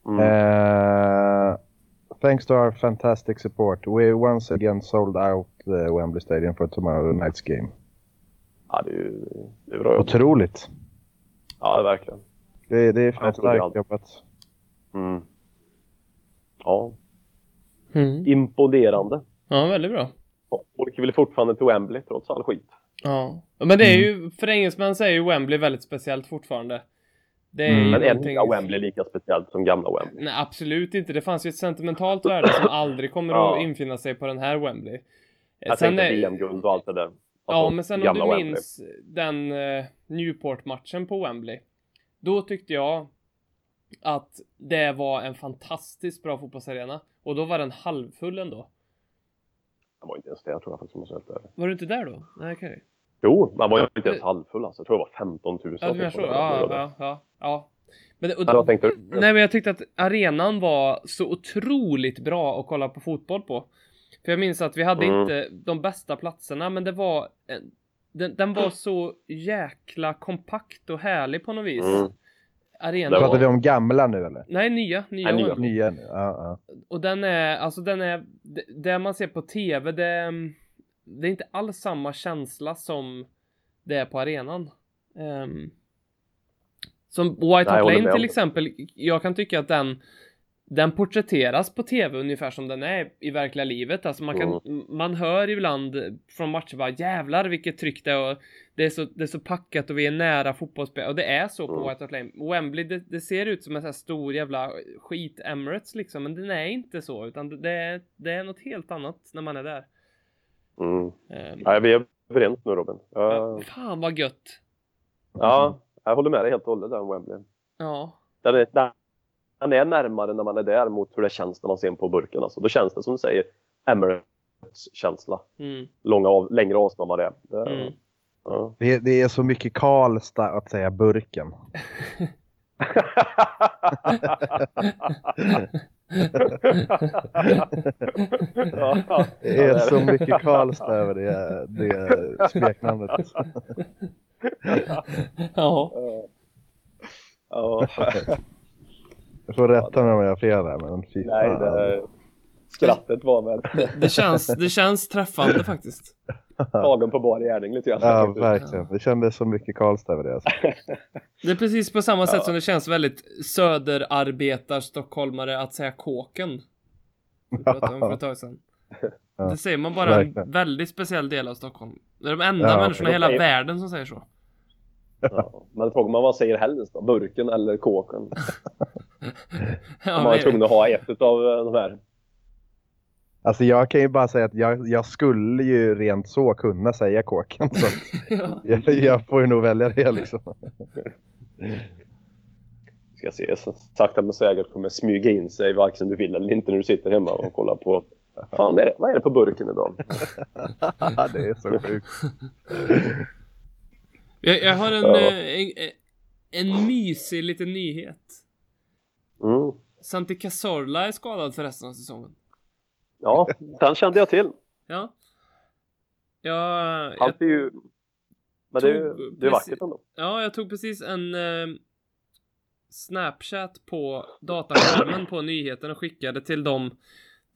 C: Mm.
B: Eh, thanks to our fantastic support, we once again sold out eh, Wembley Stadium for tomorrow night's game.
C: Ja, det är ju det är bra jobbat.
B: Otroligt!
C: Ja, verkligen.
B: Det, det är
C: Ja,
B: fan
C: jag tror det
B: starkt
C: aldrig.
B: jobbat.
C: Mm. Ja,
A: Mm.
C: imponerande.
A: Ja, väldigt bra.
C: Folk vill fortfarande till Wembley trots all skit.
A: Ja. Men det är
C: Mm.
A: ju, för engelsmän så är ju Wembley väldigt speciellt fortfarande. Det är
B: Mm.
A: ju
C: Men är
A: någonting-
C: nya Wembley lika speciellt som gamla Wembley?
A: Nej, absolut inte. Det fanns ju ett sentimentalt värde som aldrig kommer
C: Ja.
A: att infinna sig på den här Wembley. Eh,
C: Jag tänkte VM-guld och allt det där. Alltså,
A: Ja, men sen om du
C: Wembley.
A: minns den eh, Newport-matchen på Wembley. Då tyckte jag att det var en fantastiskt bra fotbollsarena. Och då var den halvfull ändå.
C: Jag var inte ens där tror jag faktiskt. om jag ska vara helt ärlig.
A: Var du inte där då? Nej, okej.
C: Jo, man var ju inte ens halvfull alltså. Jag tror det var 15 000.
A: Ja, du menar så. Ja, ja, ja. ja. Men, det- och,
C: Ja, vad tänkte du?
A: Nej, men jag tyckte att arenan var så otroligt bra att kolla på fotboll på. För jag minns att vi hade
C: Mm.
A: inte de bästa platserna, men det var... En, den, den
C: Mm.
A: var så jäkla kompakt och härlig på något vis.
C: Mm.
A: Arenan.
C: Det var-
B: Pratar vi om gamla nu eller?
A: Nej, nya. nya,
C: Nej, nya.
A: Wembley.
B: Nya nu? Ja,
A: Och den är, alltså den är, det, det man ser på tv, det, det är inte alls samma känsla som det är på arenan. Ehm, som White
C: Nej, jag
A: Hart
C: håller med
A: Lane
C: om
A: till
C: det.
A: exempel, jag kan tycka att den den porträtteras på tv ungefär som den är i verkliga livet. Alltså man, kan,
C: Mm.
A: man hör ibland från matcher bara jävlar vilket tryck det är och det är så, det är så packat och vi är nära fotbollsspel och det är så på
C: Mm.
A: White Hart Lane. Wembley, det, det ser ut som en sån här stor jävla skit Emirates liksom, men den är inte så utan det- det är, det är något helt annat när man är där.
C: Mm.
A: Ehm,
C: Nej, vi är överens nu Robin. Jag,
A: Fan vad gött!
C: ja, jag håller med dig helt och hållet där om Wembley.
A: Ja,
C: Den är, den- den är närmare när man är där mot hur det känns när man ser den på burken. Alltså. Då känns det som du säger, Emirates-känsla.
A: mm,
C: Långa av, längre avstånd vad det är. Det,
A: mm.
C: ja.
B: Det, det är så mycket Karlstad att säga burken.
C: Ja,
B: Det är
C: det
B: så mycket Karlstad över det, det smeknamnet.
A: ja,
C: Ja,
B: Jag får rätta mig om jag har fel här, men fy
C: nej,
B: fan.
C: det, skrattet var väl
A: det känns, det känns träffande faktiskt.
C: tagen på bar gärning lite grann.
B: Ja, verkligen. Det kändes så mycket Karlstad över det. Alltså.
A: Det är precis på samma sätt
C: Ja.
A: som det känns väldigt söderarbetar-stockholmare att säga kåken. Vi pratade om för ett tag sedan.
B: Ja,
A: Det säger man bara i en
B: verkligen.
A: väldigt speciell del av Stockholm. Det är de enda
B: Ja,
A: människorna i
C: det
A: hela
C: är-
A: världen som säger så.
C: Ja. Men frågar man vad säger helst då? Burken eller kåken?
A: Ja,
C: Man är
A: men-
C: tvungen att ha ett av de här.
B: alltså jag kan ju bara säga att jag, jag skulle ju rent så kunna säga kåken. Så att
A: ja.
B: jag, jag får ju nog välja det liksom.
C: Ska se, så sakta men säkert kommer smyga in sig varken du vill eller inte när du sitter hemma och kollar på. Fan, är det, vad är det på burken idag?
B: det är så sjukt.
A: jag, jag har en,
C: Ja.
A: eh, en, eh, en mysig liten nyhet.
C: Mm.
A: Santi Cazorla är skadad för resten av säsongen.
C: Ja, den kände jag till.
A: Ja. Jag,
C: Han
A: jag
C: är ju... Men det är ju det är vackert ändå.
A: Ja, jag tog precis en eh, Snapchat på dataskärmen på nyheten och skickade till de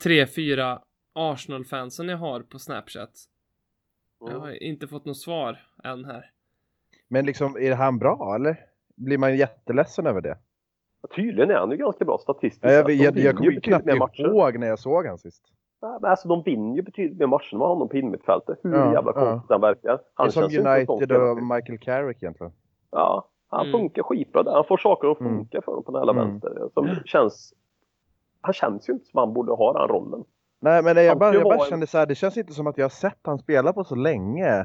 A: tre, fyra Arsenal-fansen jag har på Snapchat. Jag har
C: Mm.
A: inte fått något svar än här.
B: Men liksom, är han bra eller? Blir man jätteledsen över det?
C: Tydligen är han ju ganska bra statistiskt.
B: Jag, jag,
C: sett. De
B: jag,
C: vinner
B: jag
C: ju
B: kommer ju
C: betydligt
B: knappt
C: mer matcher.
B: ihåg när jag såg han sist.
C: Nej, men alltså, de vinner ju betydligt mer matcher än vad honom på innermittfältet. Hur
B: Ja,
C: jävla
B: ja.
C: konstigt han verkar.
B: Det är
C: Han
B: som
C: känns ju inte som
B: United och
C: spelare.
B: Michael Carrick egentligen.
C: Ja, han
A: Mm.
C: funkar skitbra där. Han får saker att funka för honom på den hela
B: Mm.
C: vänster. Som känns, han känns ju inte som han borde ha den rollen.
B: Nej men jag
C: Han
B: bara,
C: ska
B: jag bara
C: vara en-
B: kände så här, det känns inte som att jag har sett han spela på så länge.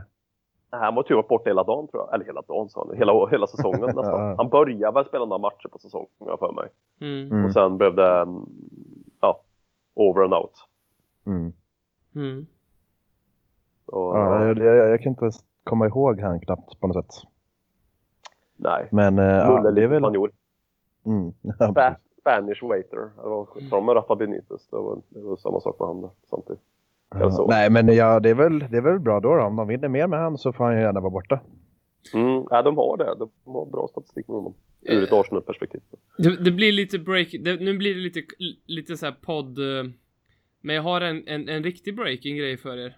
C: Nej, Han var typ varit borta hela dagen tror jag. Eller hela dagen sa han. Hela, hela säsongen nästan. Han började väl spela några matcher på säsongen har jag för mig.
A: Mm.
B: Mm.
C: Och sen blev det mm, ja, over and out.
B: Mm.
A: Mm.
C: Och,
B: Ja, jag, jag, jag kan inte ens komma ihåg han knappt på något sätt.
C: Nej.
B: Men eh, ja,
C: Mulle
B: det är väl...
C: spanjor.
B: Mm. Ja,
C: Ba-
B: precis.
C: Spanish waiter. Det
A: Mm.
C: var- Tar de med Rafa Benitez. Det var, det var samma sak med han där samtidigt. Eller så.
B: Nej men ja, det, är väl, det är väl bra då, då. Om de vinner mer med han så får han ju gärna vara borta.
C: Mm, nej, de har det. De har bra statistik med honom. Ur
A: Eh,
C: ett Arsenal-perspektiv.
A: Det, det blir lite break, det, nu blir det lite, lite så här podd... eh, Men jag har en, en, en riktig breaking grej för er.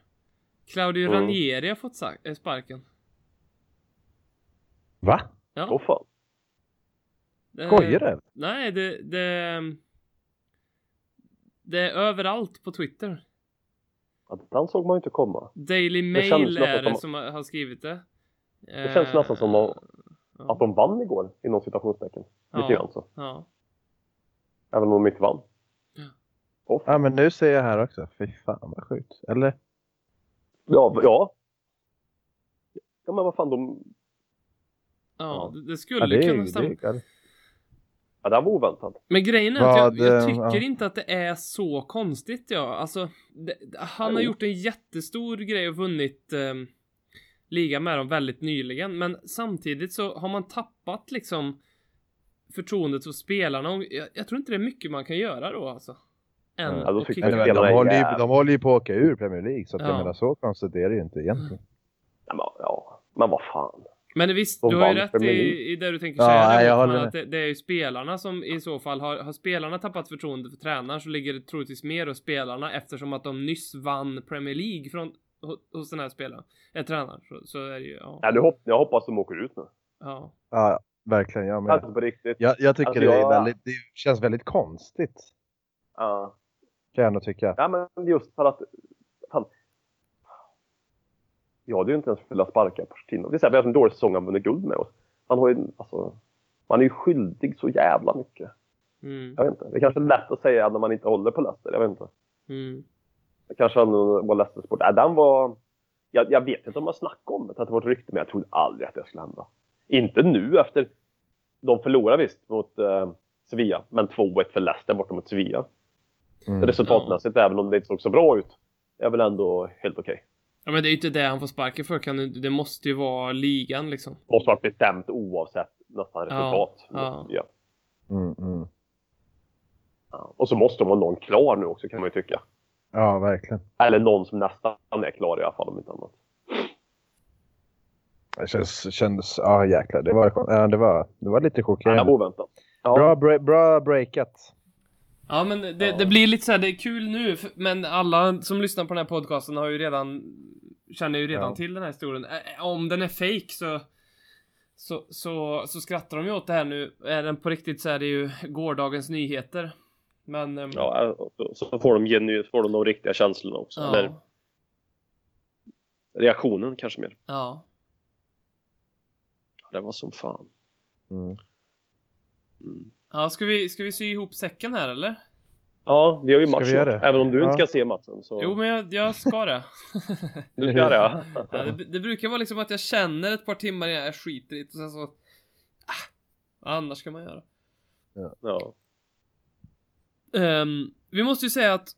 A: Claudio
C: Mm.
A: Ranieri har fått sa- eh, sparken.
B: Va?
A: Ja.
C: Åh fan.
A: det-
B: Skojar du?
A: Nej, det, det... Det är överallt på Twitter.
C: Ja, Den såg man ju inte komma.
A: Daily
C: känns
A: Mail
C: nästan
A: är det
C: som-
A: som har skrivit det.
C: Det
A: Eh,
C: känns nästan som att, att de vann igår, inom citationstecken. Lite
A: ja,
C: grann så.
A: Eh, ja.
C: Även om de inte vann.
A: Ja.
C: Åh, fan.
B: Ja men nu ser jag här också. Fy fan vad sjukt. Eller?
C: Ja, v- ja. Ja, men vad fan, de...
A: ja, det, det skulle
B: Ja, det är
A: kunna
B: ju...
A: stämma.
B: det är-
C: Ja, den var oväntad.
A: Men grejen är att
B: Vad,
A: jag, jag
B: eh,
A: tycker
B: ja.
A: inte att det är så konstigt. Ja. Alltså, det, han har
C: Jo.
A: gjort en jättestor grej och vunnit ehm, liga med dem väldigt nyligen. Men samtidigt så har man tappat liksom förtroendet hos spelarna. Och jag, jag tror inte det är mycket man kan göra då alltså. Än
B: Ja,
C: då
A: att
C: tycker
A: kicka.
B: Nej, men de,
C: spelarna är
B: håller ju,
C: jävligt-
B: de håller ju på att åka ur Premier League så att
A: Ja.
B: jag menar så konstigt är det ju inte egentligen.
C: Ja, men, ja. men vad fan.
A: Men visst,
C: De
A: du har ju
C: vann
A: rätt
C: Premier
A: i,
C: League.
A: i det du tänker
B: Ja,
A: säga.
B: nej, jag
A: där,
B: håller
A: men
B: med.
A: att det, det är ju spelarna som i så fall har, har spelarna tappat förtroendet för tränaren så ligger det troligtvis mer hos spelarna eftersom att de nyss vann Premier League från, ho- hos den här spelaren. Äh, tränaren. Så, så är det ju. Ja.
C: Ja, nu hopp, jag hoppas de åker ut nu.
A: ja.
B: Ja, verkligen. Jag, med.
C: Alltså på riktigt.
B: jag, jag tycker
C: Alltså,
B: det, är
C: jag-
B: väldigt, det känns väldigt konstigt.
C: Ja.
B: kan jag ändå tycka.
C: Ja, men just för att... Fan. Jag hade ju inte ens velat sparka Pochettino. Det är så här, vi har haft en dålig säsong han vunnit guld med oss. Man, har ju, alltså, man är ju skyldig så jävla mycket.
A: Mm.
C: Jag vet inte. Det kanske är lätt att säga när man inte håller på Leicester. Jag vet inte.
A: Mm.
C: Det kanske ändå var Leicesters sport. Nej, den var... Jag, jag vet inte om man snackade om det, att det var ett rykte, men jag trodde aldrig att det skulle hända. Inte nu efter... De förlorade visst mot eh, Sevilla, men 2-1 för Leicester borta mot Sevilla.
B: Mm.
C: Resultatmässigt, även om det inte såg så bra ut, är väl ändå helt okej.
A: Ja men det är ju inte det han får sparken för. Kan det, det måste ju vara ligan liksom.
C: måste vara bestämt oavsett nästan resultat.
A: ja.
C: Ja.
B: Mm, mm.
C: Ja. Och så måste de ha någon klar nu också kan man ju tycka.
B: Ja, verkligen.
C: Eller någon som nästan är klar i alla fall om inte annat.
B: Det känns, kändes, ja jäklar. Det var, ja, det var, det var lite
C: Ja.
B: chockerande.
C: Oväntat. Ja.
B: Bra, bre- bra breakat.
A: Ja men det,
C: Ja.
A: det blir lite så här, det är kul nu för- men alla som lyssnar på den här podcasten har ju redan känner ju redan
B: Ja.
A: till den här historien. Ä- ä- Om den är fake så så, så så skrattar de ju åt det här nu. Är den på riktigt så är det ju gårdagens nyheter. Men... ehm,
C: Ja, och så får de, genu- får de de riktiga känslorna också. Eller
A: ja,
C: reaktionen kanske mer.
A: ja.
C: Det var som fan.
B: Mm.
C: Mm.
A: Ja, ska vi, ska vi sy ihop säcken här eller?
C: Ja, vi har ju
B: Ska
C: match
B: vi göra
C: snart.
B: det?
C: Även om du
B: Ja.
C: inte ska se matchen. Så...
A: Jo, men jag, jag ska det.
C: Du ska det ja.
A: ja, det, det brukar vara liksom att jag känner ett par timmar innan jag skiter i det och sen så... Ah, vad annars ska man göra?
C: ja.
A: Ehm, vi måste ju säga att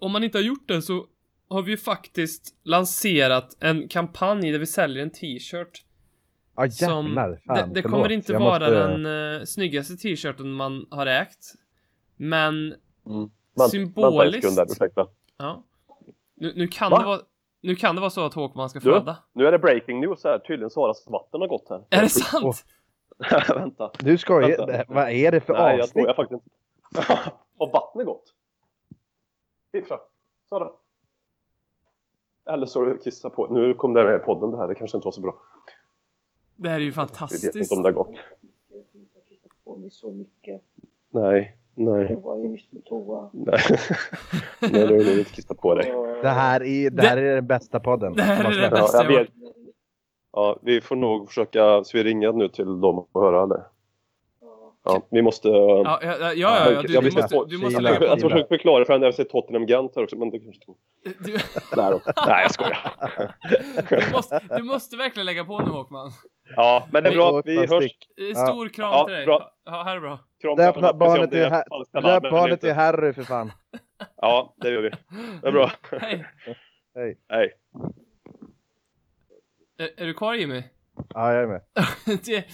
A: om man inte har gjort det så har vi ju faktiskt lanserat en kampanj där vi säljer en t-shirt.
B: Ja
A: Som-
B: jävlar.
A: det
B: Fan,
A: det
B: förlåt.
A: kommer inte
B: Jag
A: vara
B: måste-
A: den eh, snyggaste t-shirten man har ägt. Men
C: Mm. Vänta- Vänta en
A: symboliskt.
C: sekund där, ursäkta.
A: Ja. Nu, nu, kan
C: Va?
A: det vara, nu kan det vara så att Håkman ska
C: Du?
A: föda.
C: Nu är det breaking news här. Tydligen Saras vatten har gått här.
A: Är det sant?
B: Åh.
C: Vänta.
B: Du skojar?
C: Vänta.
B: Det- Vad är det för
C: Nej, jag
B: avsnitt?
C: skojar faktiskt inte. Har vattnet gått? Titta, Sara. Eller så har du kissat på. Nu kom det med i podden det här, det kanske inte var så bra.
A: Det här är ju
C: Vi vet
A: fantastiskt.
C: inte om det har gått.
D: Jag vet inte, jag har kissat på mig så mycket.
C: Nej, nej,
D: Jag var ju nyss på toa.
C: nej. nej, du har nog inte kissat på dig.
B: Det här, är, det här är den bästa podden.
A: Det här är
B: Måste
A: den
B: jag-
A: bästa.
C: Ja,
A: Nästa
C: jag
A: gång.
C: vet. Ja, vi får nog försöka, så vi ringer nu till dem och höra eller?
D: Ja.
C: Ja, vi måste... Ja,
A: Ja, ja, ja, ja, ja
C: Jag
A: du, du
C: vill se
A: måste...
C: på-
A: Du måste
B: Kila.
A: lägga
C: jag
A: på.
C: tror jag försöker förklara för henne när vi ser Tottenham Gent här också, men det kanske inte går.
A: Du,
C: Där också. Nej, jag skojar.
A: du, måste, du måste verkligen lägga på nu Håkman.
C: Ja, men det är bra. Vi hörs.
A: Eh,
B: Ja.
A: Stor kram
C: Ja,
A: till dig.
C: bra.
A: Ja, här är bra.
C: Kram.
B: Döp barnet till här-
C: falska namn
B: Döp
C: eller
B: barnet
C: inte.
B: till Harry för fan.
C: Ja, det gör vi. Det är bra.
A: Hej.
B: Hej.
C: Hej.
A: Är, är du kvar Jimmy?
B: Ja, jag är med.
A: Det,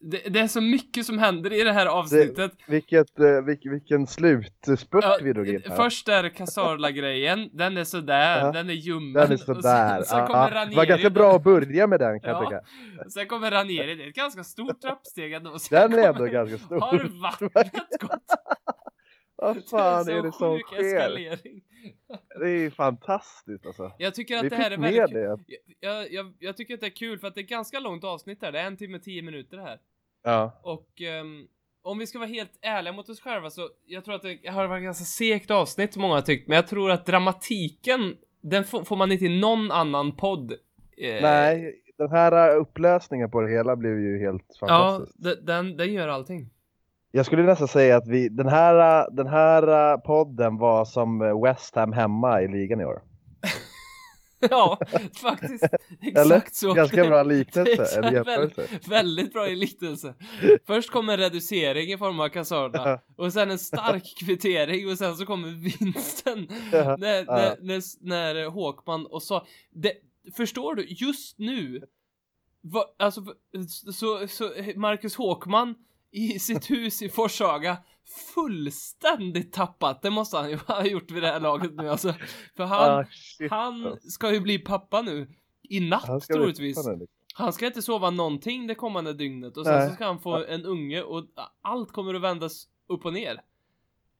A: det, det är så mycket som händer i det här avsnitt.
B: Vilket, eh, vilk, vilken slutspurt
A: Ja,
B: vi drog in här.
A: Först är det Casarla-grejen, den är sådär,
B: Ja.
A: den är ljummen.
B: Den är
A: Och
B: sådär.
A: Sen, sen
B: Ja,
A: kommer
B: ja.
A: Ranieri.
B: Det var ganska bra att börja med den kan jag
A: Ja.
B: tycka.
A: Sen kommer Ranieri, det är ett ganska stort trappsteg ändå. Och sen
B: Den är ändå
A: kommer-
B: ganska stor.
A: Har vattnet gått?
B: Vad
A: Det är
B: fan är det som
A: sjuk
B: sker?
A: eskalering.
B: Det är ju fantastiskt alltså.
A: Jag tycker
B: Vi
A: att det här är
B: fick med
A: väldigt kul.
B: det.
A: Jag, jag, jag tycker att det är kul för att det är ett ganska långt avsnitt här. Det är en timme tio minuter här.
B: Ja.
A: Och ehm, om vi ska vara helt ärliga mot oss själva så jag tror att det har varit ett ganska segt avsnitt många har tyckt. Men jag tror att dramatiken, den får, får man inte i någon annan podd. eh,
B: Nej, den här eh, upplösningen på det hela blev ju helt
A: Ja,
B: fantastisk.
A: d- den, den gör allting.
B: Jag skulle nästan säga att vi, den, här, eh, den här eh, podden var som eh, West Ham hemma i ligan i år.
A: ja, faktiskt. Exakt
B: Eller?
A: så.
B: Ganska bra
A: Exakt,
B: liknelse, eller jämförelse.
A: Väldigt bra i liknelse. Först kommer en reducering i form av Casarla och sen en stark kvittering och sen så kommer vinsten
B: Ja,
A: när, när, när, när eh, Håkman och sa det, Förstår du? Just nu va, alltså, v- så, så eh, Marcus Håkman i sitt hus i Forshaga fullständigt tappat. Det måste han ju ha gjort vid det här laget nu alltså. För han,
B: Ah, shit.
A: han ska ju bli pappa nu. I
B: Han
A: natt
B: ska bli
A: troligtvis.
B: förbannad, liksom.
A: Han ska inte sova någonting det kommande dygnet och sen
B: Nej.
A: så ska han få en unge och allt kommer att vändas upp och ner.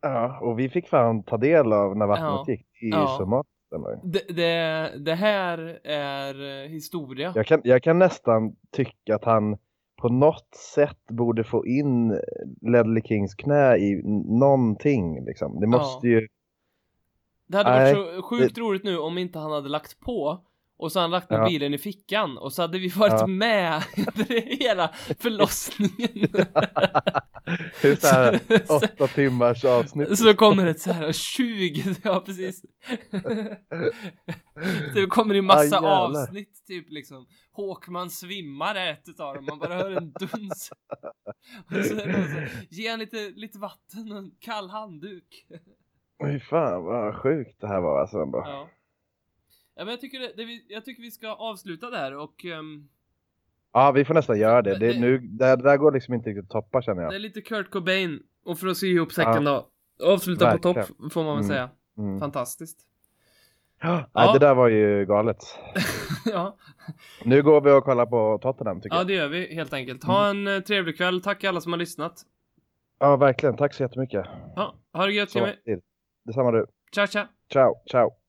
B: Ja, och vi fick fan ta del av när vattnet
A: Ja.
B: gick. i
A: Ja.
B: ja. somaten.
A: Det, det, det här är eh, historia.
B: Jag kan, jag kan nästan tycka att han på något sätt borde få in Ledley Kings knä i n- någonting. Liksom. Det måste ju...
A: Det hade varit
B: Nej,
A: så sjukt roligt nu om inte han hhade lagt på och så hade han lagt
B: Ja.
A: mobilen i fickan och så hade vi varit
B: Ja.
A: med under hela förlossningen.
B: Typ så här
A: Så-
B: åtta timmars avsnitt.
A: Så kommer det så här 20, ja precis. Det kommer i massa
B: Ah, jävlar.
A: avsnitt typ liksom. Håkman svimmar är ett utav dem, man bara hör en duns. Och så är det någon så här, Ge han lite, lite vatten och en kall handduk.
B: Fy fan vad sjukt det här var alltså. Man Bara,
A: Ja. Ja, men jag, tycker det, det, vi- jag tycker vi ska avsluta där och ehm,
B: Ja, vi får nästan göra det.
A: Men
B: Det,
A: det-
B: nu, det, här- det där går liksom inte riktigt att toppa känner
A: det är
B: jag.
A: lite Kurt Cobain. Och för att sy ihop säcken då. Avsluta på
B: Verkligen.
A: topp får man väl
B: Mm.
A: säga.
B: Mm.
A: Fantastiskt.
B: Nej,
A: Ja.
B: det där var ju galet.
A: ja.
B: Nu går vi och kollar på Tottenham tycker
A: ja,
B: jag.
A: det gör vi helt enkelt. Ha en eh, trevlig kväll. Tack alla som har lyssnat.
B: Ja, verkligen. Tack så jättemycket.
A: Ja, ha det gött
B: Så,
A: Jimmy.
B: Detsamma du.
A: Ciao, ciao.
B: Ciao, ciao.